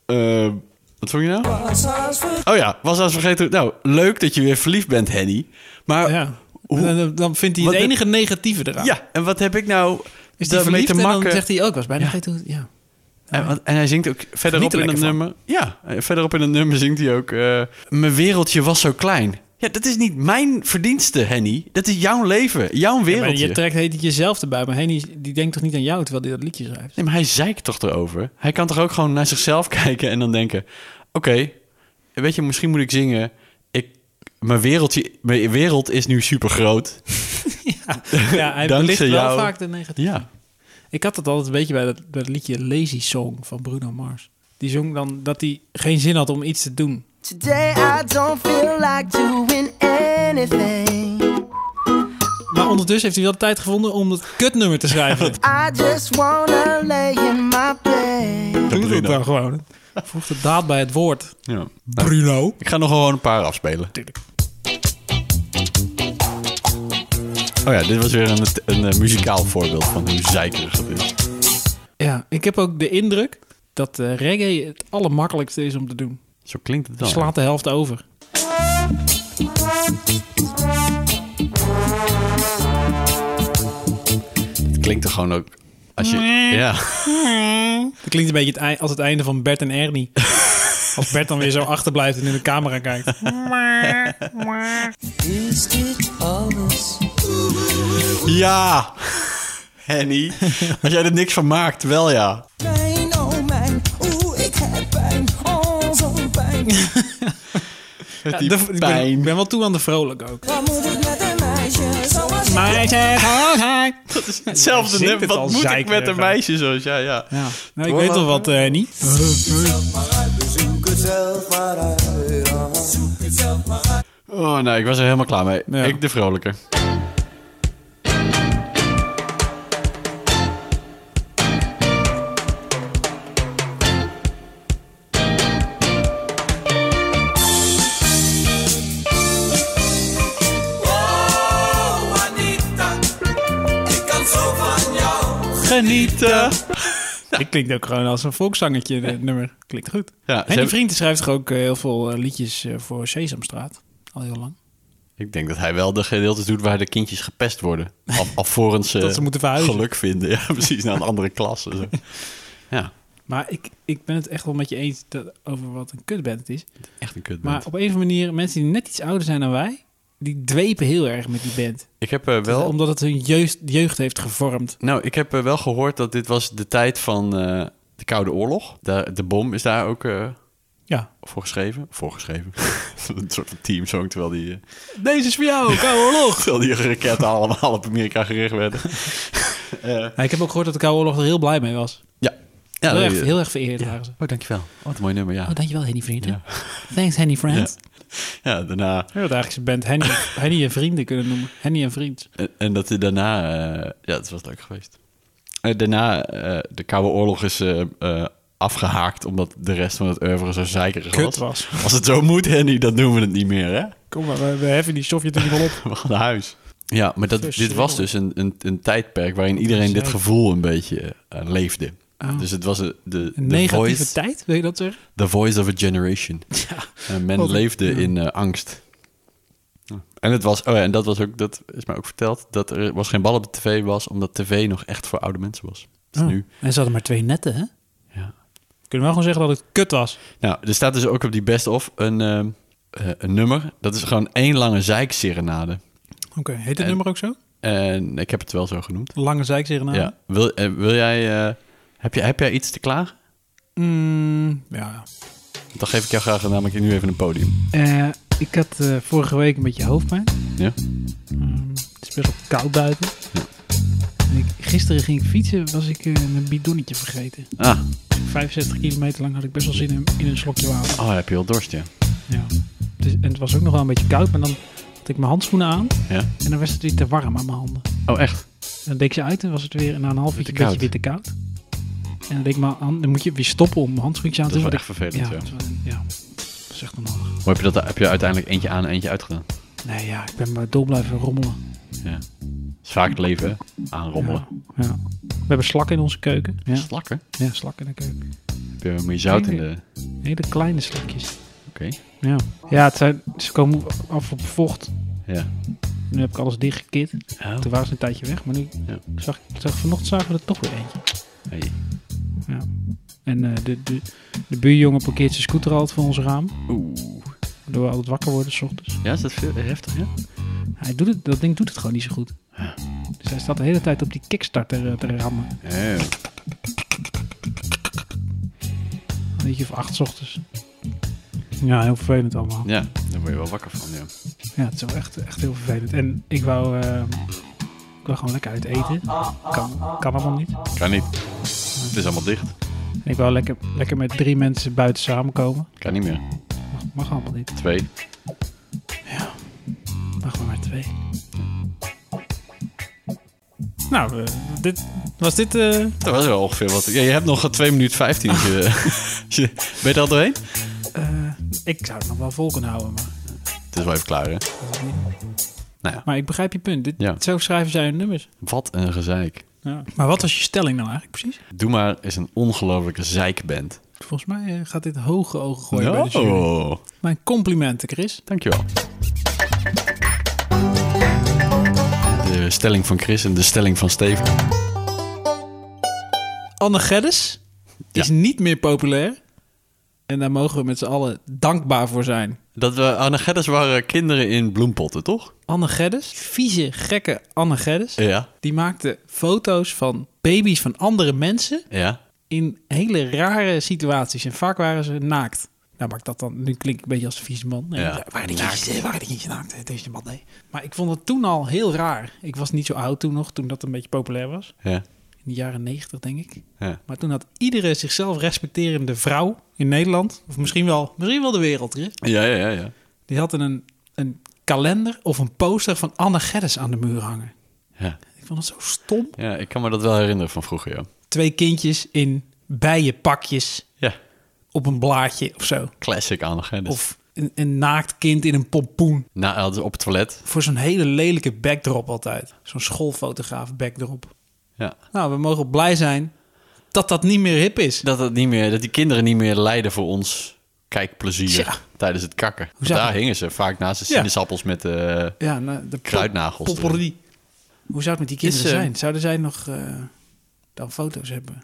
S1: Eh, wat vond je nou?
S4: Was haast ver-
S1: Oh ja, was als vergeten. hoe- Nou, leuk dat je weer verliefd bent, Henny. Maar ja,
S2: ja. Dan, dan vindt hij
S1: Wat
S2: het
S1: de-
S2: enige negatieve eraan.
S1: en wat heb ik nou
S2: Is hij
S1: daarmee
S2: verliefd
S1: te
S2: en dan
S1: makken?
S2: zegt hij ook, was bijna vergeten hoe... Ja.
S1: En, want- en hij zingt ook verderop
S2: Geniet er
S1: in het
S2: lekker
S1: nummer. Ja, eh, verderop in het nummer zingt hij ook. eh, Mijn wereldje was zo klein. Ja, dat is niet mijn verdienste, Henny. Dat is jouw leven, jouw
S2: Ja, maar
S1: wereldje.
S2: je trekt heet het jezelf erbij, maar Henny die denkt toch niet aan jou terwijl hij dat liedje schrijft?
S1: Nee, maar hij zeikt toch erover? Hij kan toch ook gewoon naar zichzelf kijken en dan denken... Oké, weet je, misschien moet ik zingen... Ik, mijn, wereldje, mijn wereld is nu super groot.
S2: Ja, hij
S1: Dankzij
S2: belicht wel
S1: jou.
S2: vaak de negatieve.
S1: Ja.
S2: Ik had dat altijd een beetje bij dat, bij dat liedje Lazy Song van Bruno Mars. Die zong dan dat hij geen zin had om iets te doen.
S5: Today I don't feel like doing anything.
S2: Maar ondertussen heeft hij wel de tijd gevonden om dat kutnummer te schrijven.
S5: I just wanna lay in my bed.
S2: Doe dat
S1: Bruno.
S2: dan gewoon. Voeg de daad bij het woord.
S1: ja. Nou,
S2: Bruno.
S1: Ik ga nog gewoon een paar afspelen.
S2: Tuurlijk.
S1: Oh ja, dit was weer een, een eh, muzikaal voorbeeld van hoe zeikerig het is.
S2: Ja, ik heb ook de indruk dat eh, reggae het allermakkelijkste is om te doen.
S1: Zo klinkt het
S2: Je
S1: dan.
S2: slaat de helft over.
S1: Het klinkt er gewoon ook... Als je, ja.
S2: Dat klinkt een beetje het ei- als het einde van Bert en Ernie. Als Bert dan weer zo achterblijft en in de camera kijkt.
S4: Is dit alles?
S1: Ja! Henny, als jij er niks van maakt, wel ja.
S4: Mijn, oh mijn, oeh, ik heb pijn. Oh, zo'n pijn.
S1: Met
S2: De- ik ben, ik ben wel toe aan de vrolijk ook.
S4: Wat moet ik met een meisje zoals jij?
S2: Maar "Oh, zeg,
S1: Hetzelfde
S2: Zingt
S1: nummer.
S2: het al
S1: Wat moet ik
S2: zeikerig,
S1: met een
S2: hè?
S1: meisje zoals jij? Ja.
S2: Ja, nou, ik weet wel wat, eh niet.
S4: Zoek het zelf maar uit. ah.
S1: Oh nee, ik was er helemaal klaar mee.
S2: Ja.
S1: Ik de vrolijke.
S4: Oh, Anita, ik kan zo van jou.
S1: Genieten.
S2: Dit klinkt ook gewoon als een volkszangertje, dit nummer. Klinkt goed.
S1: Ja, ze
S2: en die
S1: hebben-
S2: vriend schrijft toch ook eh, heel veel eh, liedjes eh, voor Sesamstraat? Al heel lang.
S1: Ik denk dat hij wel de gedeeltes doet waar de kindjes gepest worden. Al, alvorens ze,
S2: Dat ze moeten verhuizen.
S1: geluk vinden. Ja, precies, naar een andere klas. en zo. Ja,
S2: Maar ik, ik ben het echt wel met je eens dat, over wat een kutband het is.
S1: echt een kutband.
S2: Maar op een of andere manier, mensen die net iets ouder zijn dan wij, die dwepen heel erg met die band.
S1: ik heb eh, wel...
S2: Omdat het hun jeugd, jeugd heeft gevormd.
S1: Nou, ik heb eh, wel gehoord dat dit was de tijd van eh, de Koude Oorlog. De, de bom is daar ook eh,
S2: Ja.
S1: voor geschreven. Voor geschreven. een soort van teamsong, terwijl die... eh,
S2: Deze is voor jou, Koude Oorlog.
S1: Terwijl die raketten allemaal op Amerika gericht werden. Eh,
S2: ik heb ook gehoord dat de Koude Oorlog er heel blij mee was.
S1: ja. ja
S2: heel,
S1: nee,
S2: erg,
S1: eh,
S2: heel erg vereerd waren ze.
S1: Oh, dankjewel. Wat een mooi nummer, ja.
S2: Oh, dankjewel, Henny Vrienden. Thanks, Henny Friends.
S1: Ja, daarna...
S2: Ja, dat eigenlijk zijn band Henny, Henny en Vrienden kunnen noemen. Henny en Vriend.
S1: En, en dat hij daarna... eh, ja, het was leuk geweest. Eh, Eh, daarna, eh, de Koude Oorlog is eh, eh, afgehaakt... omdat de rest van het oeuvre zo zeikerig
S2: Kut
S1: was.
S2: was.
S1: Als het zo moet, Henny, dan doen we het niet meer, hè?
S2: Kom maar, we, we heffen die Sovjet-Unie wel op.
S1: We gaan naar huis. Ja, maar dat, dit was dus een, een, een tijdperk waarin iedereen dit gevoel een beetje eh, leefde. Dus het was eh, de,
S2: Een
S1: de,
S2: negatieve
S1: voice,
S2: tijd, wil je dat zeggen?
S1: the voice of a generation. En men
S2: Wat een-
S1: leefde in eh, angst. En, het was, oh ja, en dat, was ook, dat is mij ook verteld, dat er was geen bal op de tv was, omdat tv nog echt voor oude mensen was. Dus nu.
S2: Oh. En ze hadden maar twee netten, hè?
S1: Ja.
S2: Kunnen we wel gewoon zeggen dat het kut was.
S1: Nou, er staat dus ook op die best-of een, eh, eh, een nummer. Dat is gewoon één lange zeikserenade.
S2: Oké, heet het nummer ook zo?
S1: En ik heb het wel zo genoemd.
S2: Lange nou. zeikserenade?
S1: Ja. Wil, eh, wil jij, eh, heb, jij, heb jij iets te klagen?
S2: Mm, ja.
S1: Dan geef ik jou graag namelijk nu even een podium.
S2: Eh, ik had eh, vorige week een beetje hoofdpijn.
S1: Ja?
S2: Mm, het is best wel koud buiten. En ik, gisteren ging ik fietsen, was ik eh, mijn bidonnetje vergeten.
S1: Ah,
S2: 65 kilometer lang had ik best wel zin in, in een slokje water.
S1: oh, heb je wel dorst, ja.
S2: Ja. Het is- en het was ook nog wel een beetje koud, maar dan had ik mijn handschoenen aan.
S1: Ja?
S2: En dan was het weer te warm aan mijn handen.
S1: Oh, echt?
S2: En dan deed ik ze uit en was het weer na een half uur
S1: te
S2: een beetje
S1: koud.
S2: weer te koud. En dan, deed ik mijn hand- dan moet je weer stoppen om mijn handschoentjes aan te
S1: Dat is
S2: doen.
S1: wel echt
S2: want ik-
S1: vervelend, ja.
S2: ja. dat is wel- ja, dat is echt onhandig.
S1: Maar heb je, dat, heb je uiteindelijk eentje aan en eentje uitgedaan?
S2: Nee, ja, ik ben maar dol blijven rommelen.
S1: Ja. Dat is vaak het leven, hè? aanrommelen.
S2: Ja. We hebben slakken in onze keuken. Ja,
S1: Slakken?
S2: ja slakken in de keuken.
S1: Heb je meer zout in de...
S2: Hele kleine slakjes.
S1: Oké.
S2: Ja, ja het zijn, ze komen af op vocht.
S1: Ja.
S2: Nu heb ik alles dichtgekit.
S1: Oh.
S2: Toen waren ze een tijdje weg, maar nu
S1: Ja.
S2: zag, zag vanochtend zagen we er toch weer eentje.
S1: Hey.
S2: Ja. En eh, de, de, de buurjongen parkeert zijn scooter altijd voor ons raam.
S1: Oeh.
S2: Waardoor we altijd wakker worden s ochtends.
S1: Ja, is dat veel, heftig, ja?
S2: Hij doet het, dat ding doet het gewoon niet zo goed. Dus hij staat de hele tijd op die kickstarter eh, te rammen.
S1: Ja.
S2: Een beetje of acht 's ochtends. Ja, heel vervelend allemaal.
S1: Ja, daar word je wel wakker van, ja.
S2: Ja, het is wel echt, echt heel vervelend. En ik wou, eh, ik wou gewoon lekker uit eten. Kan, kan allemaal niet.
S1: Kan niet. Het is allemaal dicht.
S2: En ik wou lekker, lekker met drie mensen buiten samenkomen.
S1: Kan niet meer.
S2: Mag, mag allemaal niet.
S1: Twee.
S2: Mag maar, maar twee. Nou, eh, dit, was dit... eh,
S1: Dat was wel ongeveer wat. Ja, je hebt nog 2 minuten 15. als je- als je- ben je er al doorheen?
S2: eh, ik zou het nog wel vol kunnen houden, maar...
S1: Het is wel even klaar, hè? Nou ja,
S2: Maar ik begrijp je punt. Dit,
S1: Ja.
S2: Zo schrijven zij hun nummers.
S1: wat een gezeik.
S2: Ja. Maar wat was je stelling nou eigenlijk precies?
S1: Doe maar is een ongelofelijke zeikband.
S2: Volgens mij eh, gaat dit hoge ogen gooien bij de jury.
S1: Oh,
S2: Mijn complimenten, Chris.
S1: dankjewel. De stelling van Chris en de stelling van Steven.
S2: Anne Geddes
S1: Ja.
S2: is niet meer populair. En daar mogen we met z'n allen dankbaar voor zijn.
S1: Dat we Anne Geddes waren kinderen in bloempotten, toch?
S2: Anne Geddes, vieze, gekke Anne Geddes.
S1: Ja.
S2: Die maakte foto's van baby's van andere mensen
S1: Ja.
S2: in hele rare situaties. En vaak waren ze naakt. Nou, maakt dat dan... Nu klink ik een beetje als een vieze man. Nee,
S1: Ja.
S2: Waar die kindjes, waar die kindjes naakt? eh, Deze man, nee. Maar ik vond het toen al heel raar. Ik was niet zo oud toen nog, toen dat een beetje populair was.
S1: Ja.
S2: In de jaren negentig, denk ik.
S1: ja.
S2: Maar toen had iedere zichzelf respecterende vrouw in Nederland, of misschien wel, misschien wel de wereld, Chris,
S1: Ja, ja, ja, ja.
S2: die had een, een kalender of een poster van Anne Geddes aan de muur hangen.
S1: Ja.
S2: Ik vond dat zo stom.
S1: Ja, ik kan me dat wel herinneren van vroeger, ja.
S2: Twee kindjes in bijenpakjes
S1: Ja,
S2: op een blaadje of zo.
S1: classic Anne Geddes. Of...
S2: Of een, een naakt kind in een pompoen.
S1: Nou, op het toilet.
S2: Voor zo'n hele lelijke backdrop altijd. Zo'n schoolfotograaf backdrop.
S1: Ja.
S2: Nou, we mogen blij zijn dat dat niet meer hip is.
S1: Dat, dat, niet meer, dat die kinderen niet meer lijden voor ons kijkplezier
S2: Ja.
S1: tijdens het kakken. Want
S2: zag
S1: daar
S2: het?
S1: hingen ze vaak naast de
S2: Ja.
S1: sinaasappels met... eh,
S2: Ja, nou, de
S1: Kruidnagels erin.
S2: Popperie. Hoe zou het met die kinderen
S1: Is, eh,
S2: zijn? Zouden zij nog eh, dan foto's hebben?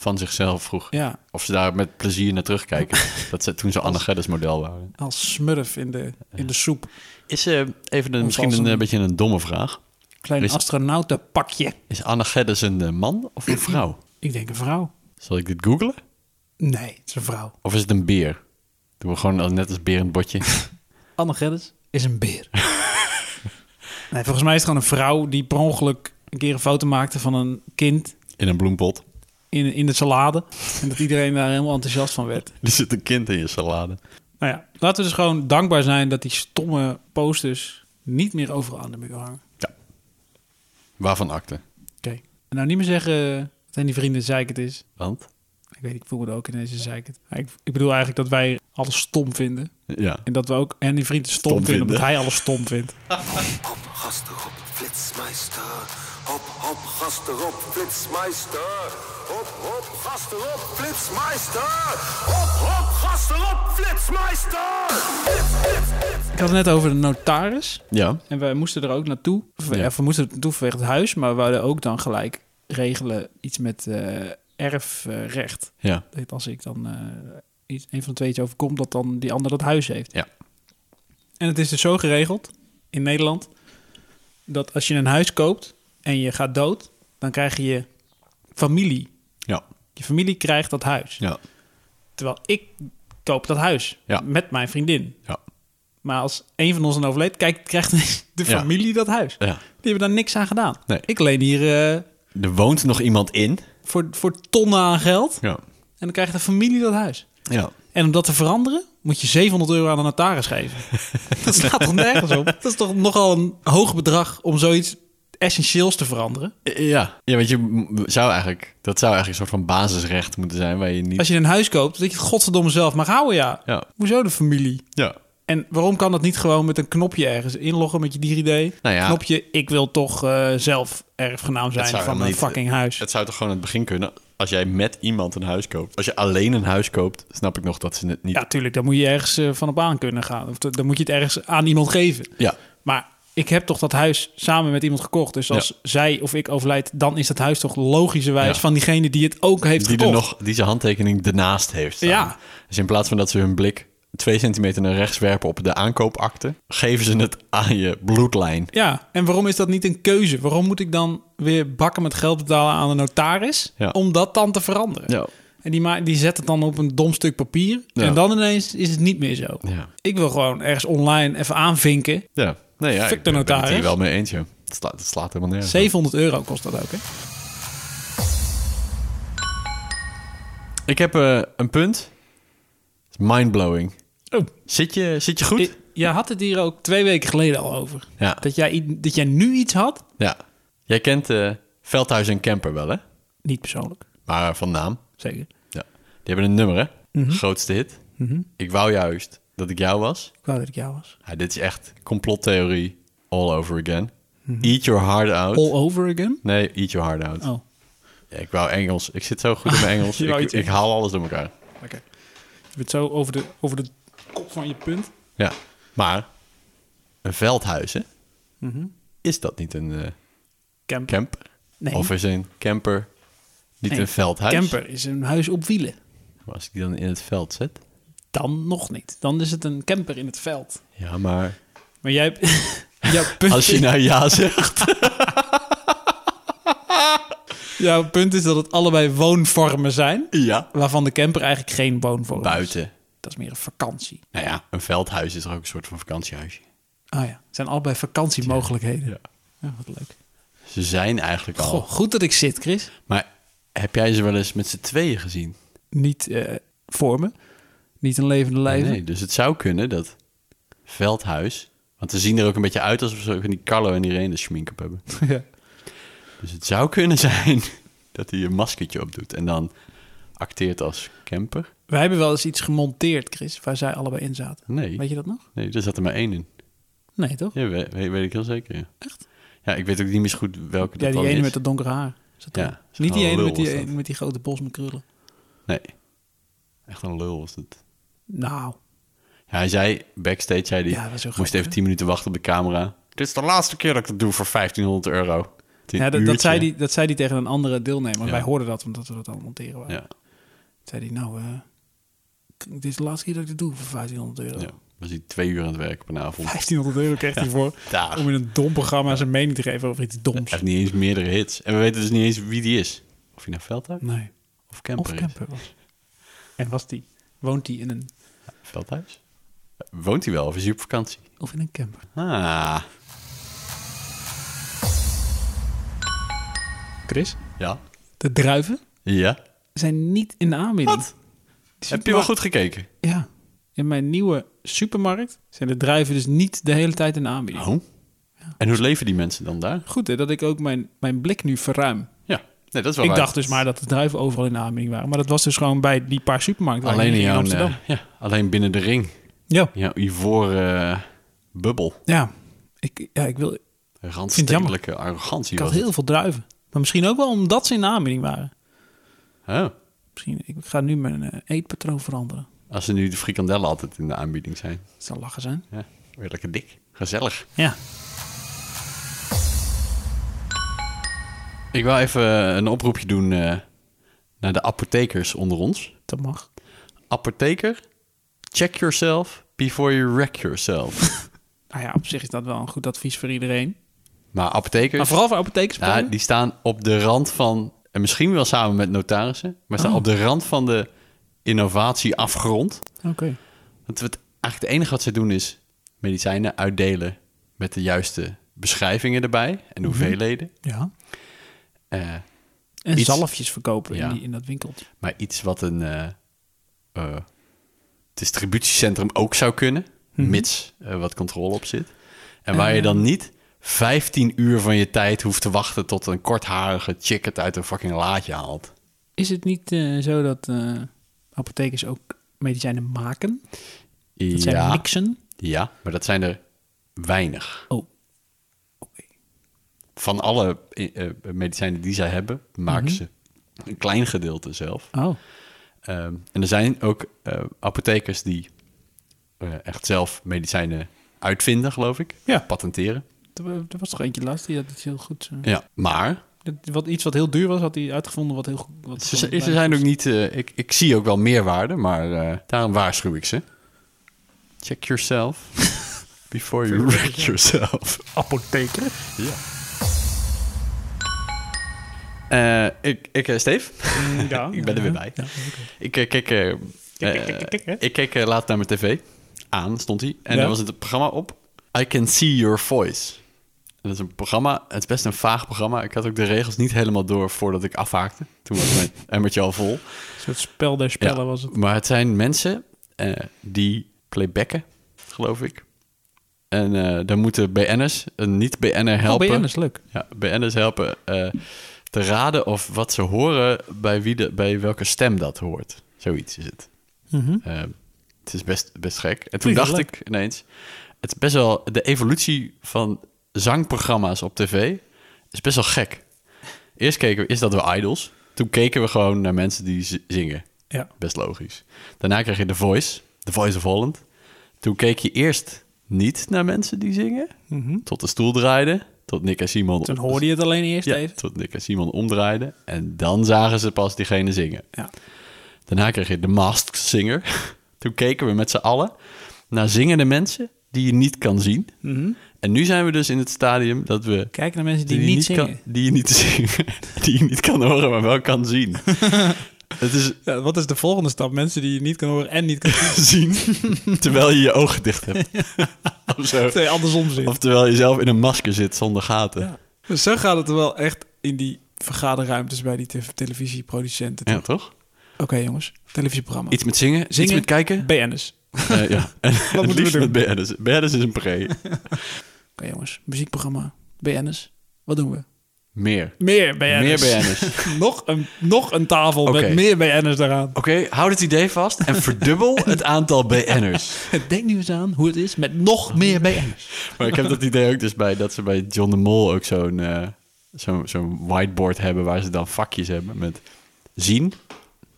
S1: van zichzelf vroeg.
S2: Ja,
S1: Of ze daar met plezier naar terugkijken. dat ze toen ze Anne Geddes model waren.
S2: als smurf in de, in de soep.
S1: Is eh, even een, misschien
S2: als
S1: een,
S2: een-
S1: eh, beetje een domme vraag.
S2: Klein
S1: Is-
S2: astronautenpakje.
S1: Is Anne Geddes een eh, man of een vrouw?
S2: Ik denk een vrouw.
S1: Zal ik dit googlen?
S2: Nee, het is een vrouw.
S1: Of is het een beer? Doen we gewoon al net als beer in het botje.
S2: Anne Geddes is een beer. nee, volgens mij is het gewoon een vrouw die per ongeluk een keer een foto maakte van een kind
S1: in een bloempot.
S2: in, in de salade. En dat iedereen daar helemaal enthousiast van werd.
S1: Er zit een kind in je salade.
S2: Nou ja, laten we dus gewoon dankbaar zijn dat die stomme posters niet meer overal aan de muur hangen.
S1: Ja. Waarvan akte?
S2: Oké. En nou niet meer zeggen zijn die vrienden zeikend is.
S1: Want?
S2: Ik weet, ik voel me er ook in deze zeikend. Maar Ik, ik bedoel eigenlijk dat wij alles stom vinden.
S1: Ja.
S2: En dat we ook en die vrienden stom,
S1: Stom
S2: vinden, omdat
S1: vinden.
S2: hij alles stom vindt.
S6: Hop, gasten, hop, flitsmeister. Hop, hop, gasten, hop, flitsmeister. Hop, hop, gasten, hop, flitsmeister. Hop, hop, gasten, hop, flitsmeister.
S2: Ik had het net over de notaris.
S1: Ja.
S2: En wij moesten er ook naartoe. Of,
S1: Ja.
S2: of we moesten er naartoe vanwege het huis. Maar we hadden ook dan gelijk regelen iets met eh, erfrecht.
S1: Ja.
S2: dat als ik dan eh, iets, een van de twee iets overkomt, dat dan die ander dat huis heeft.
S1: Ja.
S2: En het is dus zo geregeld in Nederland dat als je een huis koopt en je gaat dood, dan krijg je je familie.
S1: Ja.
S2: Je familie krijgt dat huis.
S1: Ja.
S2: Terwijl ik koop dat huis
S1: Ja.
S2: met mijn vriendin.
S1: Ja.
S2: Maar als een van ons dan overleed, kijk, krijgt de
S1: Ja.
S2: familie dat huis.
S1: Ja.
S2: Die hebben daar niks aan gedaan.
S1: Nee.
S2: Ik leen hier eh,
S1: Er woont nog iemand in.
S2: voor, voor tonnen aan geld
S1: Ja.
S2: en dan krijgt de familie dat huis.
S1: Ja.
S2: En om dat te veranderen, moet je 700 euro aan de notaris geven. dat staat toch nergens op? Dat is toch nogal een hoog bedrag om zoiets essentieels te veranderen?
S1: Eh, Ja. Ja, want je m- zou eigenlijk... Dat zou eigenlijk een soort van basisrecht moeten zijn waar je niet...
S2: Als je een huis koopt, dat je het godverdomme zelf mag houden, ja.
S1: Ja.
S2: Hoezo de familie?
S1: Ja.
S2: En waarom kan dat niet gewoon met een knopje ergens inloggen met je DigiD?
S1: Nou ja.
S2: Knopje, ik wil toch eh, zelf erfgenaam zijn
S1: Het zou
S2: van mijn
S1: helemaal niet-
S2: fucking huis.
S1: Het zou toch gewoon aan het begin kunnen als jij met iemand een huis koopt. Als je alleen een huis koopt, snap ik nog dat ze het niet...
S2: Ja, tuurlijk, dan moet je ergens eh, van op aan kunnen gaan. Of dan moet je het ergens aan iemand geven.
S1: Ja.
S2: Maar ik heb toch dat huis samen met iemand gekocht. Dus als
S1: Ja.
S2: zij of ik overlijd, dan is dat huis toch logischerwijs
S1: Ja.
S2: van diegene die het ook heeft
S1: die, er
S2: gekocht.
S1: nog, die zijn handtekening ernaast heeft staan.
S2: Ja.
S1: Dus in plaats van dat ze hun blik twee centimeter naar rechts werpen op de aankoopakte... geven ze het aan je bloedlijn.
S2: Ja, en waarom is dat niet een keuze? Waarom moet ik dan weer bakken met geld betalen aan de notaris
S1: Ja.
S2: om dat dan te veranderen?
S1: Ja.
S2: En die, ma- die zet het dan op een dom stuk papier
S1: Ja.
S2: en dan ineens is het niet meer zo.
S1: Ja.
S2: Ik wil gewoon ergens online even aanvinken.
S1: Ja. Nee, ja,
S2: Fuck
S1: ik
S2: de
S1: ben- ben het
S2: notaris.
S1: hier wel mee eens, joh. Het slaat, het slaat helemaal nergens. op.
S2: 700 euro kost dat ook, hè?
S1: Ik heb eh, een punt. Mindblowing.
S2: Oh.
S1: Zit je, zit je goed?
S2: Je, jij had het hier ook twee weken geleden al over.
S1: Ja.
S2: Dat, jij, i- dat jij nu iets had,
S1: Ja. Jij kent eh, Veldhuis en Kemper wel, hè?
S2: niet persoonlijk,
S1: Maar van naam.
S2: zeker.
S1: Ja. Die hebben een nummer, hè?
S2: Mhm.
S1: Grootste hit. Ik wou juist dat ik jou was.
S2: Ik wou dat ik jou was.
S1: Ja, dit is echt complottheorie all over again. Eat your heart out.
S2: Mhm. All over again?
S1: nee, eat your heart out.
S2: Oh,
S1: Ja, ik wou Engels. Ik zit zo goed in mijn Engels.
S2: Je wou
S1: ik,
S2: iets
S1: ik haal alles door elkaar.
S2: oké. Je bent zo over de, over de kop van je punt.
S1: Ja. Maar een veldhuis, hè?
S2: Mhm.
S1: Is dat niet een eh
S2: Camp.
S1: camper?
S2: Nee.
S1: Of is een camper niet
S2: Nee,
S1: een veldhuis?
S2: Camper is een huis op wielen.
S1: Maar als ik die dan in het veld zet?
S2: Dan nog niet. Dan is het een camper in het veld.
S1: Ja, maar...
S2: Maar jij... jouw, punt
S1: Als je
S2: is,
S1: nou ja zegt...
S2: jouw punt is dat het allebei woonvormen zijn...
S1: ja.
S2: waarvan de camper eigenlijk geen woonvorm is.
S1: Buiten.
S2: Dat is meer een vakantie.
S1: Nou ja, een veldhuis is toch ook een soort van vakantiehuisje?
S2: Ah ja, het zijn allebei vakantiemogelijkheden.
S1: Ja.
S2: Ja, wat leuk.
S1: Ze zijn eigenlijk al...
S2: Goh, goed dat ik zit, Chris.
S1: Maar heb jij ze wel eens met z'n tweeën gezien?
S2: Niet eh, voor me. Niet een levende lijven.
S1: Nee, dus het zou kunnen dat veldhuis... Want ze zien er ook een beetje uit alsof ze van die Carlo en Irene schmink op hebben.
S2: ja.
S1: Dus het zou kunnen zijn dat hij een maskertje opdoet en dan acteert als camper.
S2: Wij hebben wel eens iets gemonteerd, Chris, waar zij allebei in zaten.
S1: Nee.
S2: Weet je dat nog?
S1: Nee, daar zat er maar één in.
S2: Nee, toch?
S1: Ja, weet, weet, weet ik heel zeker. Ja.
S2: Echt?
S1: Ja, ik weet ook niet meer zo goed welke
S2: Ja,
S1: dat
S2: die
S1: dan
S2: ene
S1: is.
S2: met dat donkere haar. Is dat
S1: Ja,
S2: toch?
S1: zo'n
S2: Niet die ene
S1: lul
S2: met die,
S1: was dat.
S2: met die grote bos met krullen.
S1: Nee. Echt een lul was het.
S2: Nou,
S1: Ja, hij zei, backstage zei hij,
S2: Ja, dat is ook
S1: moest
S2: gek,
S1: even
S2: hè?
S1: 10 minuten wachten op de camera. Dit is de laatste keer dat ik dat doe voor 1500 euro. Het is een
S2: ja, dat, dat,
S1: uurtje.
S2: zei die, dat zei die tegen een andere deelnemer.
S1: Ja.
S2: Wij hoorden dat, omdat we dat al monteren waren.
S1: Ja,
S2: Zei die, nou, eh, k- dit is de laatste keer dat ik dit doe voor 1500 euro.
S1: ja. Was hij twee uur aan het werk op een avond.
S2: 1500 euro kreeg hij voor
S1: Daar.
S2: om in een dom programma zijn mening te geven over iets
S1: Hij
S2: doms.
S1: heeft niet eens meerdere hits. En we weten dus niet eens wie die is. Of hij nou Veldhuis
S2: Nee.
S1: of Camper
S2: Of
S1: is.
S2: camper was. En was die? Woont die in een
S1: Veldhuis? Woont hij wel of is hij op vakantie?
S2: of in een camper?
S1: Ah,
S2: Chris,
S1: ja.
S2: de druiven
S1: Ja.
S2: zijn niet in de aanbieding.
S1: Wat?
S2: Die
S1: Heb je wel
S2: supermarkt-
S1: goed gekeken?
S2: Ja. In mijn nieuwe supermarkt zijn de druiven dus niet de hele tijd in de aanbieding.
S1: Oh. En hoe leven die mensen dan daar?
S2: Goed hè, dat ik ook mijn, mijn blik nu verruim.
S1: Ja. Nee, dat is wel
S2: Ik
S1: waar.
S2: dacht dus maar dat de druiven overal in de aanbieding waren. Maar dat was dus gewoon bij die paar supermarkten. waar
S1: Alleen
S2: je
S1: in jouw,
S2: Amsterdam.
S1: eh, ja, alleen binnen de ring.
S2: ja.
S1: Jouw ivoren eh, bubbel.
S2: Ja. Ik, ja, ik, wil,
S1: Randstedelijke arrogantie.
S2: ik had
S1: was
S2: heel veel druiven. Maar misschien ook wel omdat ze in de aanbieding waren.
S1: het. Oh,
S2: Misschien, ik ga nu mijn eh, eetpatroon veranderen.
S1: als ze nu de frikandellen altijd in de aanbieding zijn.
S2: Dat zou lachen zijn.
S1: Ja, weer lekker dik. Gezellig.
S2: Ja.
S1: Ik wil even een oproepje doen eh, naar de apothekers onder ons.
S2: Dat mag.
S1: Apotheker, check yourself before you wreck yourself.
S2: Nou ja, op zich is dat wel een goed advies voor iedereen.
S1: maar apothekers...
S2: Maar vooral voor apothekers.
S1: Ja, die staan op de rand van, en misschien wel samen met notarissen, maar
S2: Oh.
S1: staan op de rand van de innovatieafgrond.
S2: Oké.
S1: Want het, eigenlijk het enige wat ze doen is medicijnen uitdelen met de juiste beschrijvingen erbij
S2: Mhm.
S1: en de hoeveelheden.
S2: Ja.
S1: Eh,
S2: En
S1: Iets-
S2: zalfjes verkopen
S1: Ja.
S2: in, die, in dat winkeltje.
S1: maar iets wat een eh, eh, distributiecentrum ook zou kunnen,
S2: Mhm.
S1: mits eh, wat controle op zit. En waar
S2: Eh.
S1: je dan niet 15 uur van je tijd hoeft te wachten tot een kortharige chick het uit een fucking laadje haalt.
S2: Is het niet eh, zo dat eh, apothekers ook medicijnen maken? Dat zijn mixen?
S1: Ja, maar dat zijn er weinig.
S2: Oh,
S1: Van alle eh, eh, medicijnen die zij hebben, maken
S2: Mhm.
S1: ze een klein gedeelte zelf.
S2: oh.
S1: Ehm, en er zijn ook eh, apothekers die eh, echt zelf medicijnen uitvinden, geloof ik.
S2: Ja.
S1: Patenteren.
S2: Er, er was toch eentje laatst die had het heel goed... eh,
S1: Ja. Maar
S2: dat- wat, iets wat heel duur was, had hij uitgevonden wat heel goed... Wat
S1: ze,
S2: gewoon-
S1: ze zijn ook niet... eh, ik, ik zie ook wel meerwaarde, maar eh, daarom waarschuw ik ze. Check yourself before you wreck yourself.
S2: Apotheker?
S1: Eh, ik, ik eh, Steve?
S2: Mm, Oh, Ja.
S1: Ik ben er weer bij. Ik eh, keek, eh, eh, ik keek eh, laat naar mijn tv. Aan stond hij. En
S2: Ja.
S1: er was het programma op. I Can See Your Voice. En dat is een programma. Het is best een vaag programma. Ik had ook de regels niet helemaal door voordat ik afhaakte. Toen was mijn emmertje al vol.
S2: Een soort spel der
S1: Ja,
S2: spellen was het.
S1: Maar het zijn mensen eh, die playbacken, geloof ik. En eh daar moeten eh, BN'ers, een niet-BN'er helpen.
S2: Oh, BN'ers, leuk.
S1: Ja, BN'ers helpen eh, te raden of wat ze horen bij, wie de, bij welke stem dat hoort. Zoiets is het. Eh, het is best, best gek. En toen
S2: Vind ik wel
S1: dacht ik ineens, het is best wel de evolutie van zangprogramma's op tv is best wel gek. Eerst keken we, is dat we idols? Toen keken we gewoon naar mensen die z- zingen.
S2: Ja.
S1: Best logisch. Daarna kreeg je The Voice, The Voice of Holland. Toen keek je eerst niet naar mensen die zingen, tot de stoel draaide, tot Nick en Simon
S2: Mhm. Toen hoorde je het alleen eerst
S1: ja,
S2: even.
S1: tot Nick en Simon omdraaiden. En dan zagen ze pas diegene zingen.
S2: Ja.
S1: Daarna kreeg je de Masked Singer. Toen keken we met z'n allen naar zingende mensen die je niet kan zien. En nu zijn we dus in het stadium dat we...
S2: Kijk naar mensen Mhm. die,
S1: je
S2: niet, zingen.
S1: kan, die je niet zingen. die je niet kan horen, maar wel kan zien. het is
S2: Ja, wat is de volgende stap? Mensen die je niet kan horen en niet kan
S1: zien terwijl je je ogen dicht hebt. of zo.
S2: Nee, andersom zit.
S1: Of terwijl je zelf in een masker zit zonder gaten. Ja,
S2: Dus zo gaat het er wel echt in die vergaderruimtes bij die te- televisieproducenten. toe.
S1: toch?
S2: Oké jongens, televisieprogramma.
S1: Iets met zingen, iets
S2: Zingen.
S1: met kijken.
S2: BN'ers. Oké
S1: Eh, ja. En het
S2: moeten we
S1: liefst
S2: doen?
S1: met BN'ers. BN'ers is een pre.
S2: jongens, muziekprogramma, BN'ers. Wat doen we?
S1: Meer.
S2: Meer BN'ers.
S1: Meer BN'ers. Oké,
S2: nog, een, nog een tafel
S1: Oké.
S2: met meer BN'ers daaraan.
S1: houd het idee vast en verdubbel het aantal BN'ers.
S2: Denk nu eens aan hoe het is met nog meer BN'ers.
S1: Maar ik heb dat idee ook dus bij dat ze bij John de Mol ook zo'n eh, zo'n zo'n whiteboard hebben waar ze dan vakjes hebben met zien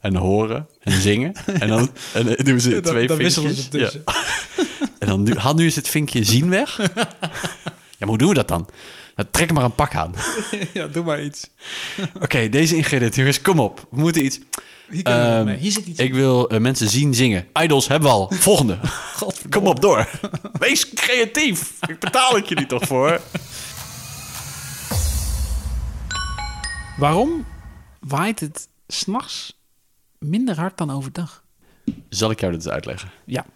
S1: en horen en zingen. En dan en, eh, doen ze
S2: Dan-
S1: twee
S2: dan wisselen
S1: vinkjes.
S2: ze tussen.
S1: Ja. En dan nu, haal nu eens het vinkje zien weg. Ja, maar hoe doen we dat dan? Nou, trek er maar een pak aan.
S2: ja, doe maar iets.
S1: Oké, deze ingrediënten, jongens, kom op. We moeten iets.
S2: Hier, kunnen we
S1: Ehm,
S2: wat mee. Hier zit iets.
S1: Ik wil eh, mensen zien zingen. Idols hebben we al. Volgende. Kom op, door. Wees creatief. Ik betaal het jullie toch voor.
S2: Waarom waait het s'nachts minder hard dan overdag?
S1: Zal ik jou dit eens uitleggen?
S2: Ja.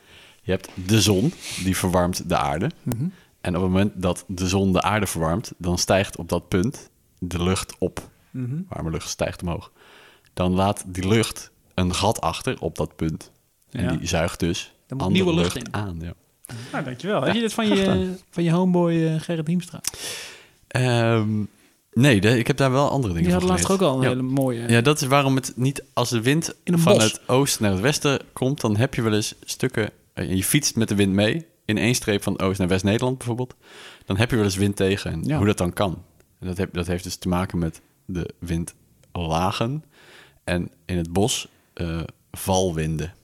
S1: Je hebt de zon, die verwarmt de aarde.
S2: Mhm.
S1: En op het moment dat de zon de aarde verwarmt, dan stijgt op dat punt de lucht op.
S2: Mhm.
S1: Warme lucht stijgt omhoog. Dan laat die lucht een gat achter op dat punt. En
S2: Ja.
S1: die zuigt dus
S2: Dan moet
S1: andere
S2: nieuwe lucht in.
S1: aan. Ja.
S2: Nou, dankjewel. Heb je dit van je, van je homeboy eh, Gerrit Hiemstra?
S1: Ehm, Nee, de- ik heb daar wel andere dingen
S2: Die
S1: van
S2: hadden laatst ook
S1: geleerd.
S2: al een
S1: Ja.
S2: hele mooie.
S1: Ja, dat is waarom het niet als de wind
S2: In een
S1: van
S2: bos.
S1: het oosten naar het westen komt, dan heb je wel eens stukken. eh, Je fietst met de wind mee in één streep van oost naar west-Nederland bijvoorbeeld. Dan heb je wel eens wind tegen en
S2: Ja.
S1: hoe dat dan kan. En dat, heb, dat heeft dus te maken met de windlagen en in het bos eh, valwinden.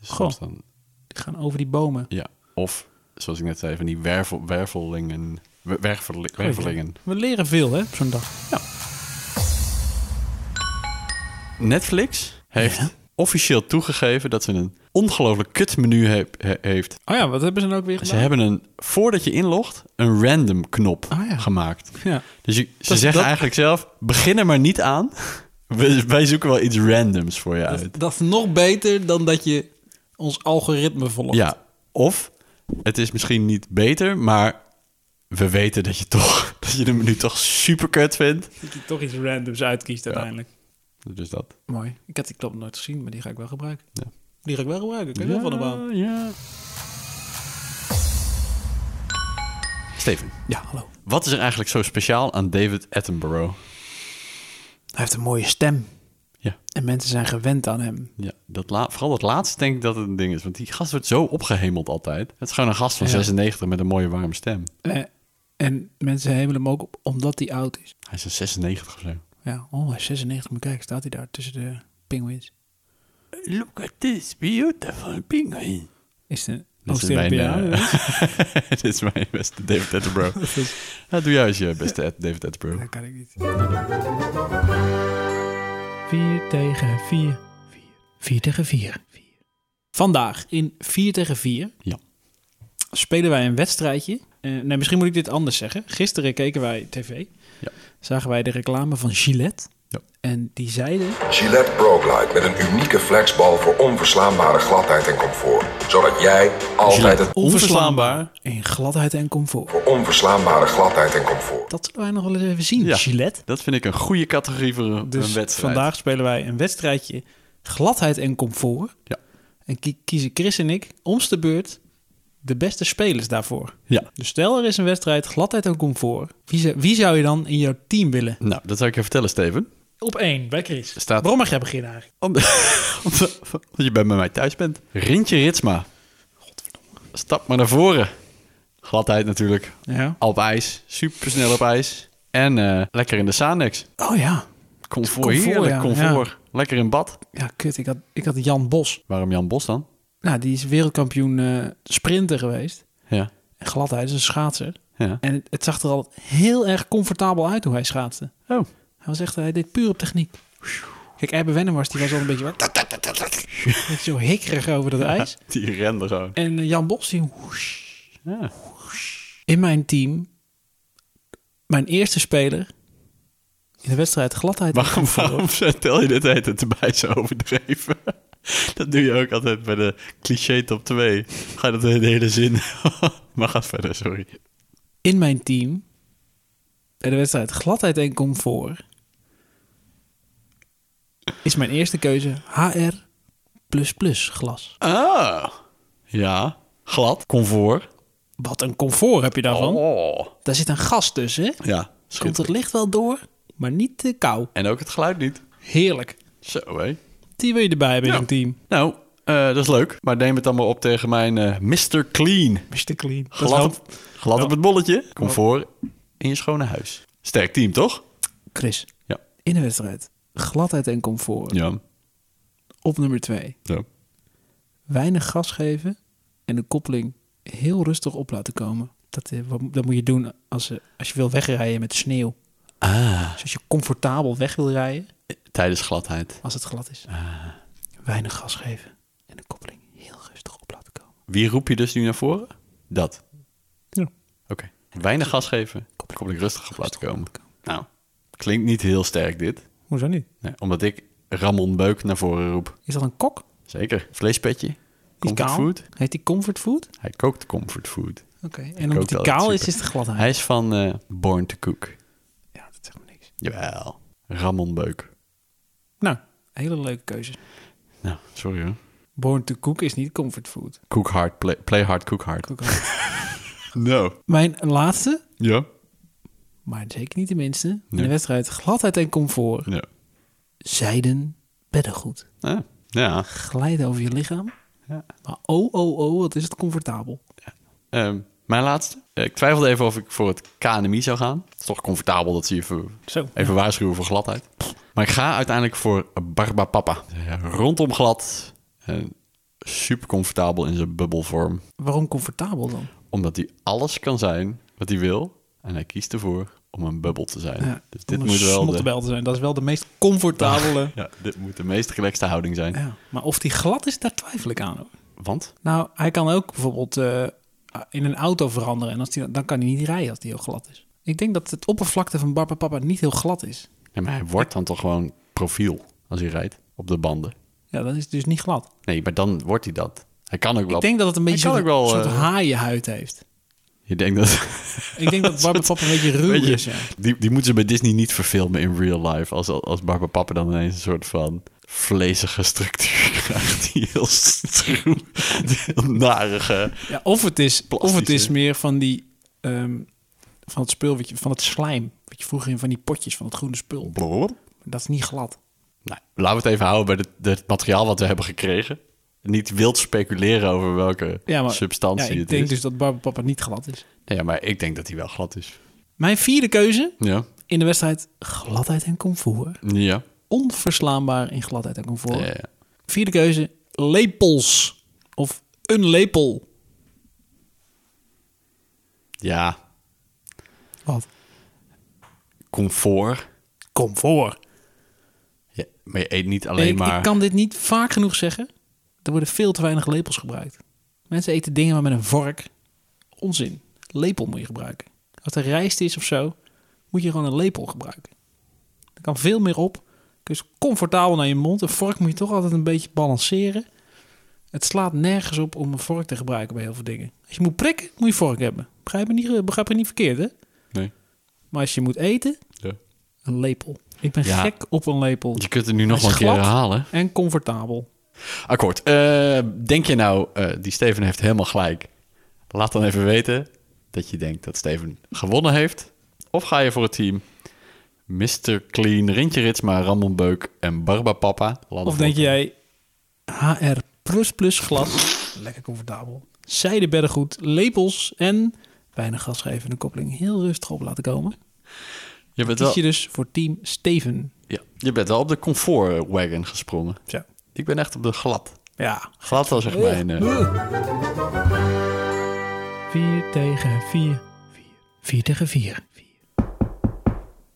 S1: Dus
S2: Goh.
S1: soms dan,
S2: Die gaan over die bomen.
S1: ja. Of zoals ik net zei, van die wervel, wervelingen. wer- wervel- wervelingen.
S2: We leren veel, hè, op zo'n dag.
S1: Netflix heeft officieel toegegeven dat ze een ongelooflijk kut menu heb- he- heeft.
S2: Oh ja, wat hebben ze nou ook weer
S1: Ze
S2: gedaan?
S1: hebben een, voordat je inlogt, een random knop
S2: Ah ja.
S1: gemaakt.
S2: Ja.
S1: Dus je- ze
S2: Dat-
S1: zeggen
S2: dat-
S1: eigenlijk zelf, begin er maar niet aan. We- wij zoeken wel iets randoms voor je uit.
S2: Dat is nog beter dan dat je ons algoritme volgt.
S1: Ja, of het is misschien niet beter, maar we weten dat je, toch, dat je de menu toch super kut vindt.
S2: Dat je toch iets randoms uitkiest uiteindelijk.
S1: Dus dat.
S2: Mooi. Ik heb die knop nooit gezien, maar die ga ik wel gebruiken.
S1: Ja.
S2: Die ga ik wel gebruiken. Kun je wel van de baan.
S1: ja. Steven.
S2: Ja, hallo.
S1: Wat is er eigenlijk zo speciaal aan David Attenborough?
S2: Hij heeft een mooie stem.
S1: Ja.
S2: En mensen zijn gewend aan hem.
S1: ja dat la- vooral dat laatste denk ik dat het een ding is. Want die gast wordt zo opgehemeld altijd. Het is gewoon een gast van
S2: Ja.
S1: 96 met een mooie warme stem.
S2: Eh, en mensen hebben hem ook op omdat hij oud is.
S1: Hij is een 96 of zo.
S2: Ja, oh, hij is 96. Maar kijk, staat hij daar tussen de penguins.
S1: Look at this beautiful penguin.
S2: Is de
S1: Dit is mijn, eh, Dit is mijn beste David Attenborough. Nou, doe jij eens je beste Ed- David Attenborough.
S2: Dat kan ik niet. 4 tegen 4. 4 tegen 4. Vandaag in 4 tegen 4
S1: Ja.
S2: spelen wij een wedstrijdje. Eh, nee, misschien moet ik dit anders zeggen. Gisteren keken wij tv.
S1: Ja.
S2: Zagen wij de reclame van Gillette.
S1: Ja.
S2: En die zeiden...
S7: Gillette ProGlide met een unieke flexbal voor onverslaanbare gladheid en comfort. Zodat jij altijd het
S1: Onverslaanbaar.
S2: In gladheid en comfort.
S7: voor onverslaanbare gladheid en comfort.
S2: Dat zullen wij nog wel eens even zien,
S1: Ja.
S2: Gillette.
S1: Dat vind ik een goede categorie voor een,
S2: Dus
S1: een wedstrijd.
S2: vandaag spelen wij een wedstrijdje gladheid en comfort.
S1: Ja.
S2: En kie- kiezen Chris en ik ons de beurt de beste spelers daarvoor.
S1: Ja.
S2: Dus stel er is een wedstrijd gladheid en comfort. Wie zou, wie zou je dan in jouw team willen?
S1: Nou, dat zou ik je vertellen, Steven.
S2: Op één, bij Chris.
S1: Staat-
S2: Waarom mag jij beginnen eigenlijk?
S1: Omdat, omdat je bij mij thuis bent. Rintje Ritsma. Stap maar naar voren. Gladheid natuurlijk.
S2: Ja.
S1: Al op ijs. Supersnel op ijs. En eh, lekker in de Sanex.
S2: Oh ja.
S1: Comfort,
S2: Comfort,
S1: heerlijk
S2: ja,
S1: comfort. Lekker in bad.
S2: Ja, kut. Ik had, ik had Jan Bos.
S1: Waarom Jan Bos dan?
S2: Nou, die is wereldkampioen eh, sprinter geweest.
S1: Ja.
S2: En gladheid is een schaatser.
S1: ja.
S2: En het, het zag er al heel erg comfortabel uit hoe hij schaatste.
S1: Oh.
S2: Hij was echt, hij deed puur op techniek. Kijk, Erbe Wennemars, die was al een beetje wat- zo hikkerig over dat ijs.
S1: Die rende gewoon.
S2: En eh, Jan Bos, die woesh.
S1: Ja.
S2: in mijn team, mijn eerste speler in de wedstrijd gladheid.
S1: Waarom, waarom vertel je dit heet het erbij zo overdreven? Dat doe je ook altijd bij de cliché top 2. Ga je dat de hele zin... maar ga verder, sorry.
S2: In mijn team, bij de wedstrijd gladheid en comfort, is mijn eerste keuze HR++ glas.
S1: Ah. Ja. Glad. Comfort.
S2: Wat een comfort heb je daarvan.
S1: Oh.
S2: Daar zit een gas tussen, hè?
S1: Ja.
S2: Komt
S1: Schitterend.
S2: het licht wel door, maar niet te kou.
S1: En ook het geluid niet.
S2: Heerlijk.
S1: Zo, hé.
S2: Die wil je erbij hebben in
S1: Ja.
S2: zo'n team.
S1: Nou, eh, dat is leuk. Maar neem het dan maar op tegen mijn eh Mr. Clean.
S2: Mr. Clean. Dat
S1: Glad,
S2: helpt.
S1: op, glad op het bolletje. Comfort in je schone huis. Sterk team, toch?
S2: Chris,
S1: Ja.
S2: in de wedstrijd. Gladheid en comfort.
S1: Ja.
S2: Op nummer twee.
S1: ja.
S2: Weinig gas geven en de koppeling heel rustig op laten komen. Dat, eh, wat- dat moet je doen als, eh, als je wil wegrijden met sneeuw.
S1: Ah.
S2: Dus als je comfortabel weg wil rijden,
S1: Tijdens gladheid.
S2: als het glad is.
S1: Ah.
S2: Weinig gas geven en de koppeling heel rustig op laten komen.
S1: Wie roep je dus nu naar voren? Dat.
S2: Ja.
S1: Oké. Weinig gas geven. Kom ik rustig op laten komen. Nou, klinkt niet heel sterk dit.
S2: Hoezo niet?
S1: Nee, omdat ik Ramon Beuk naar voren roep.
S2: Is dat een kok?
S1: Zeker. Vleespetje.
S2: Die is
S1: Comfort
S2: kaal?
S1: food.
S2: Heet die comfort food?
S1: Hij kookt comfort food.
S2: Oké. En omdat
S1: ook
S2: die
S1: altijd
S2: kaal is,
S1: super.
S2: is het gladheid.
S1: Hij is van eh, Born to Cook.
S2: Ja, dat zegt me niks.
S1: Jawel. Ramon Beuk.
S2: Nou, hele leuke keuze.
S1: Nou, sorry hoor.
S2: Born to cook is niet comfort food.
S1: Cook hard, play, play hard, cook hard.
S2: Cook hard.
S1: No.
S2: Mijn laatste
S1: Ja.
S2: maar zeker niet de minste. In de wedstrijd gladheid en comfort.
S1: Ja.
S2: Zijden beddengoed.
S1: Ah, ja.
S2: Glijden over je lichaam.
S1: Ja.
S2: Maar oh, oh, oh, wat is het comfortabel.
S1: Ehm, mijn laatste. Eh, ik twijfelde even of ik voor het KNMI zou gaan. Het is toch comfortabel dat ze je even,
S2: Zo.
S1: even waarschuwen voor gladheid. Maar ik ga uiteindelijk voor Barbapapa. Eh, Rondom glad. En super comfortabel in zijn bubbelvorm.
S2: Waarom comfortabel dan?
S1: Omdat hij alles kan zijn wat hij wil. En hij kiest ervoor om een bubbel te zijn.
S2: Ja,
S1: dus dit
S2: om
S1: moet
S2: een
S1: wel de,
S2: snottebel te zijn. Dat is wel de meest comfortabele.
S1: ja, dit moet de meest relaxte houding zijn.
S2: ja. Maar of die glad is, daar twijfel ik aan. Hoor.
S1: Want?
S2: Nou, hij kan ook bijvoorbeeld eh, in een auto veranderen. En als die, dan kan hij niet rijden als die heel glad is. Ik denk dat het oppervlakte van Barba Papa niet heel glad is.
S1: Ja, maar hij wordt dan toch gewoon profiel als hij rijdt op de banden.
S2: Ja, dat is dus niet glad.
S1: Nee, maar dan wordt hij dat. Hij kan ook wel.
S2: Ik denk dat het een beetje
S1: Hij
S2: een
S1: kan
S2: soort,
S1: ook wel,
S2: soort
S1: eh,
S2: haaienhuid heeft.
S1: Je denkt dat.
S2: Ik denk dat Barba Papa een beetje ruw
S1: Weet je,
S2: is. Ja.
S1: die, die moeten ze bij Disney niet verfilmen in real life. Als, als Barbara Papa dan ineens een soort van vlezige structuur krijgt. Die heel stroef, die heel narige.
S2: Ja, of het is, of het
S1: Plastische.
S2: is meer van die ehm, van het spul, wat je, van het slijm. Wat je vroeger in van die potjes van het groene spul. Dat is niet glad.
S1: Nou, laten we het even houden bij het, het materiaal wat we hebben gekregen. Niet wild speculeren over welke
S2: Ja, maar,
S1: substantie
S2: ja, ik
S1: het
S2: denk
S1: is.
S2: dus dat Barba Papa niet glad is.
S1: Nee, ja, maar ik denk dat hij wel glad is.
S2: Mijn vierde keuze
S1: Ja,
S2: in de wedstrijd gladheid en comfort.
S1: ja. Eh,
S2: Onverslaanbaar in gladheid en comfort.
S1: Ja, ja.
S2: Vierde keuze lepels of een lepel.
S1: ja.
S2: Wat?
S1: comfort.
S2: Comfort.
S1: Ja, maar je eet niet alleen
S2: ik,
S1: maar...
S2: ik kan dit niet vaak genoeg zeggen. Er worden veel te weinig lepels gebruikt. Mensen eten dingen maar met een vork. Onzin. Lepel moet je gebruiken. Als er rijst is of zo, moet je gewoon een lepel gebruiken. Er kan veel meer op. Dus comfortabel naar je mond. Een vork moet je toch altijd een beetje balanceren. Het slaat nergens op om een vork te gebruiken bij heel veel dingen. Als je moet prikken, moet je vork hebben. Begrijp me niet, eh, begrijp me niet verkeerd, hè?
S1: Nee.
S2: Maar als je moet eten,
S1: Ja.
S2: een lepel. Ik ben
S1: Ja.
S2: gek op een lepel.
S1: Je kunt het nu nog
S2: Hij
S1: wel een
S2: is
S1: keer
S2: glad
S1: herhalen.
S2: En comfortabel.
S1: Akkoord. Eh, denk je nou, eh, die Steven heeft helemaal gelijk. Laat dan even weten dat je denkt dat Steven gewonnen heeft. Of ga je voor het team Mr. Clean, Rintje Ritsma, Ramon Beuk en Barba Papa? Laat
S2: Of
S1: het
S2: denk
S1: horen.
S2: jij HR++ glas, lekker comfortabel, zijdeberggoed, lepels en weinig gasgevende koppeling heel rustig op laten komen.
S1: Je bent, wel,
S2: Kies je dus voor team Steven.
S1: ja, je bent wel op de comfort wagon gesprongen.
S2: Zo.
S1: Ik ben echt op de glad.
S2: Ja.
S1: Glad was
S2: Oh.
S1: echt mijn... eh,
S2: 4 tegen 4. 4 tegen 4.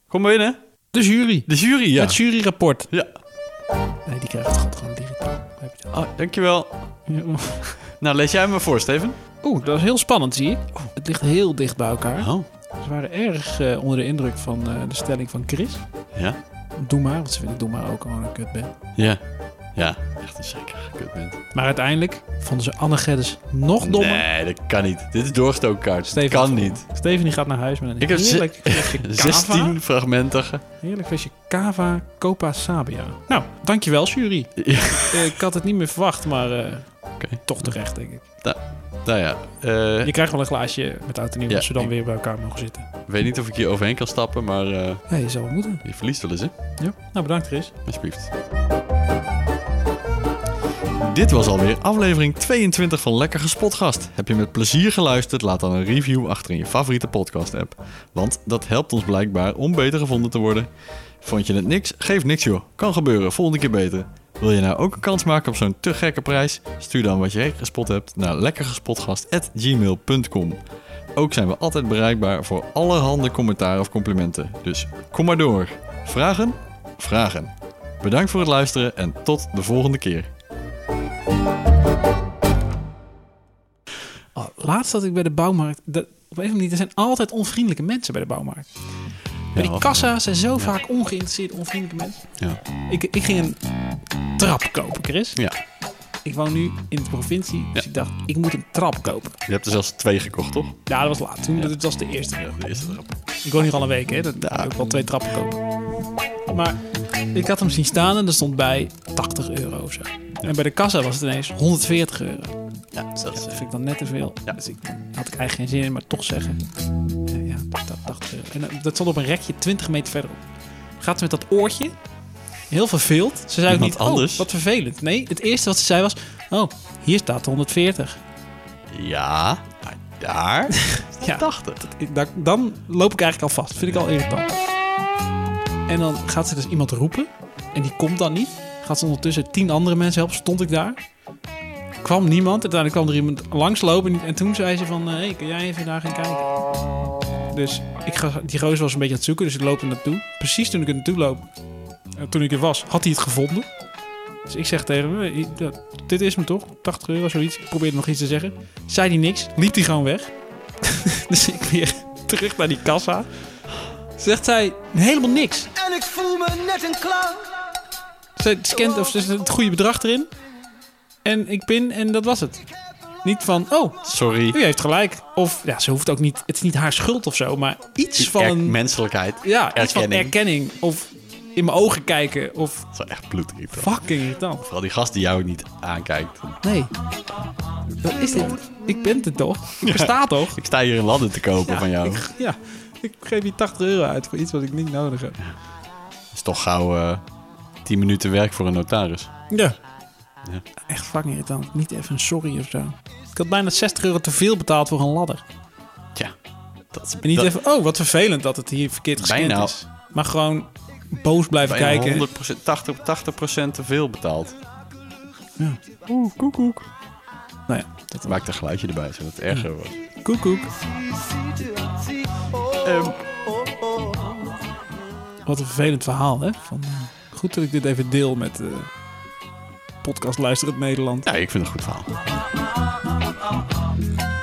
S1: Kom maar binnen.
S2: De jury.
S1: De jury, ja.
S2: Het juryrapport.
S1: ja.
S2: Nee, die krijgt het gewoon digitaal. Heb je dat?
S1: Oh, dankjewel. Nou, lees jij hem maar voor, Steven.
S2: Oeh, dat is heel spannend, zie ik. Het ligt heel dicht bij elkaar.
S1: Oh,
S2: Ze waren erg eh, onder de indruk van eh, de stelling van Chris.
S1: ja.
S2: Doe maar, want ze vinden Doe maar ook gewoon een kutband.
S1: Ja. Ja, echt een zeker kutband.
S2: Maar uiteindelijk vonden ze Anne Geddes nog dommer.
S1: Nee, dat kan niet. Dit is doorgestoken kaart.
S2: Steven
S1: kan
S2: had
S1: niet.
S2: gewonnen. Steven die gaat naar huis met een
S1: Ik heb ze-
S2: heerlijk flesje cava.
S1: 16 fragmenten.
S2: Heerlijk flesje cava Copa Sabia. Nou, dankjewel jury. Eh, Ik had het niet meer verwacht, maar eh,
S1: Oké.
S2: toch terecht denk ik.
S1: Nou, nou ja, eh,
S2: Je krijgt wel een glaasje met oud en nieuw
S1: Ja,
S2: als we dan
S1: ik-
S2: weer bij elkaar mogen zitten.
S1: ik weet niet of ik hier overheen kan stappen, maar eh,
S2: Ja, je zou wel moeten.
S1: je verliest wel eens, hè?
S2: Ja. Nou, bedankt Chris.
S1: Alsjeblieft. Dit was alweer aflevering 22 van Lekker Gespot Gast. Heb je met plezier geluisterd? Laat dan een review achter in je favoriete podcast-app. Want dat helpt ons blijkbaar om beter gevonden te worden. Vond je het niks? Geef niks joh. Kan gebeuren. Volgende keer beter. Wil je nou ook een kans maken op zo'n te gekke prijs? Stuur dan wat je gespot hebt naar lekkergespotgast.gmail.com Ook zijn we altijd bereikbaar voor allerhande commentaar of complimenten. Dus kom maar door. Vragen? Vragen. Bedankt voor het luisteren en tot de volgende keer.
S2: Oh, laatst zat ik bij de bouwmarkt. Dat, op een of andere manier, er zijn altijd onvriendelijke mensen bij de bouwmarkt.
S1: Ja,
S2: Bij die
S1: of-
S2: kassa zijn zo vaak ongeïnteresseerd onvriendelijke mensen.
S1: Ja.
S2: Ik, ik ging een trap kopen, Chris.
S1: ja.
S2: Ik woon nu in de provincie, dus
S1: Ja.
S2: ik dacht, ik moet een trap kopen.
S1: Je hebt er zelfs twee gekocht, toch?
S2: Ja, dat was laat. Toen, dat was de eerste.
S1: Ja, de eerste trap.
S2: Ik woon hier al een week, hè. Dat ja. ik al twee trappen kopen. Maar ik had hem zien staan en er stond bij 80 euro of zo. En bij de kassa was het ineens 140 euro.
S1: Ja, zelfs.
S2: Dat vind ik dan net te veel. Dus ik, daar had ik eigenlijk geen zin in, maar toch zeggen. Ja, ja. dat, dacht ze. En eh, dat stond op een rekje 20 meter verderop. Gaat ze met dat oortje. Heel verveeld. Ze zei ook
S1: Iemand
S2: niet,
S1: anders?
S2: oh, wat vervelend. Nee, het eerste wat ze zei was, oh, hier staat 140.
S1: eh, Ja, maar daar staat
S2: Ja.
S1: 80.
S2: Ik- Dan, dan loop ik eigenlijk al vast. Vind ik al irritant. En dan gaat ze dus iemand roepen. En die komt dan niet. Gaat ze ondertussen tien andere mensen helpen. Stond ik daar. Kwam niemand. Uiteindelijk kwam er iemand langslopen. En toen zei ze van... Hé, hey, kun jij even daar gaan kijken? Dus ik ga, die gozer was een beetje aan het zoeken. Dus ik loop er naartoe. Precies toen ik er naartoe loop... eh, Toen ik er was, had hij het gevonden. Dus ik zeg tegen hem... eh, dat- Dit is hem toch? 80 euro, zoiets. Ik probeerde nog iets te zeggen. Zei hij niks. Liep hij gewoon weg. Dus ik weer terug naar die kassa. Zegt zij helemaal niks.
S5: En ik voel me net een clown.
S2: Ze scant of ze zet het goede bedrag erin. En ik pin en dat was het. Niet van, oh,
S1: Sorry.
S2: u heeft gelijk. Of ja, ze hoeft ook niet, het is niet haar schuld of zo, maar iets van,
S1: Er-
S2: een,
S1: menselijkheid.
S2: ja, iets van
S1: erkenning.
S2: erkenning. Of in mijn ogen kijken. Of
S1: Dat is wel echt bloedirritant.
S2: fucking irritant.
S1: Vooral die gast die jou niet aankijkt.
S2: Nee. Wat is dit? Ik ben het toch? Ik besta toch?
S1: Ik sta hier in ladden te kopen
S2: Ja,
S1: van jou.
S2: Ik, ja, ik geef hier 80 euro uit voor iets wat ik niet nodig heb.
S1: is toch gauw eh 10 minuten werk voor een notaris.
S2: Ja. Echt fucking irritant. Niet even een sorry of zo. Ik had bijna 60 euro te veel betaald voor een ladder.
S1: Tja, dat is
S2: En niet
S1: dat-
S2: even, oh wat vervelend dat het hier verkeerd geschikt
S1: Bijna.
S2: is. Maar gewoon boos blijven
S1: bijna
S2: kijken.
S1: 100%, 80, 80% te veel betaald.
S2: Nou ja, dat Hm.
S1: Maak een geluidje erbij, zodat het erger wordt.
S2: koekoek.
S1: Ehm.
S2: Wat een vervelend verhaal, hè? Van, eh, goed dat ik dit even deel met eh podcast Luisterend Nederland.
S1: Ja, ik vind het een goed verhaal.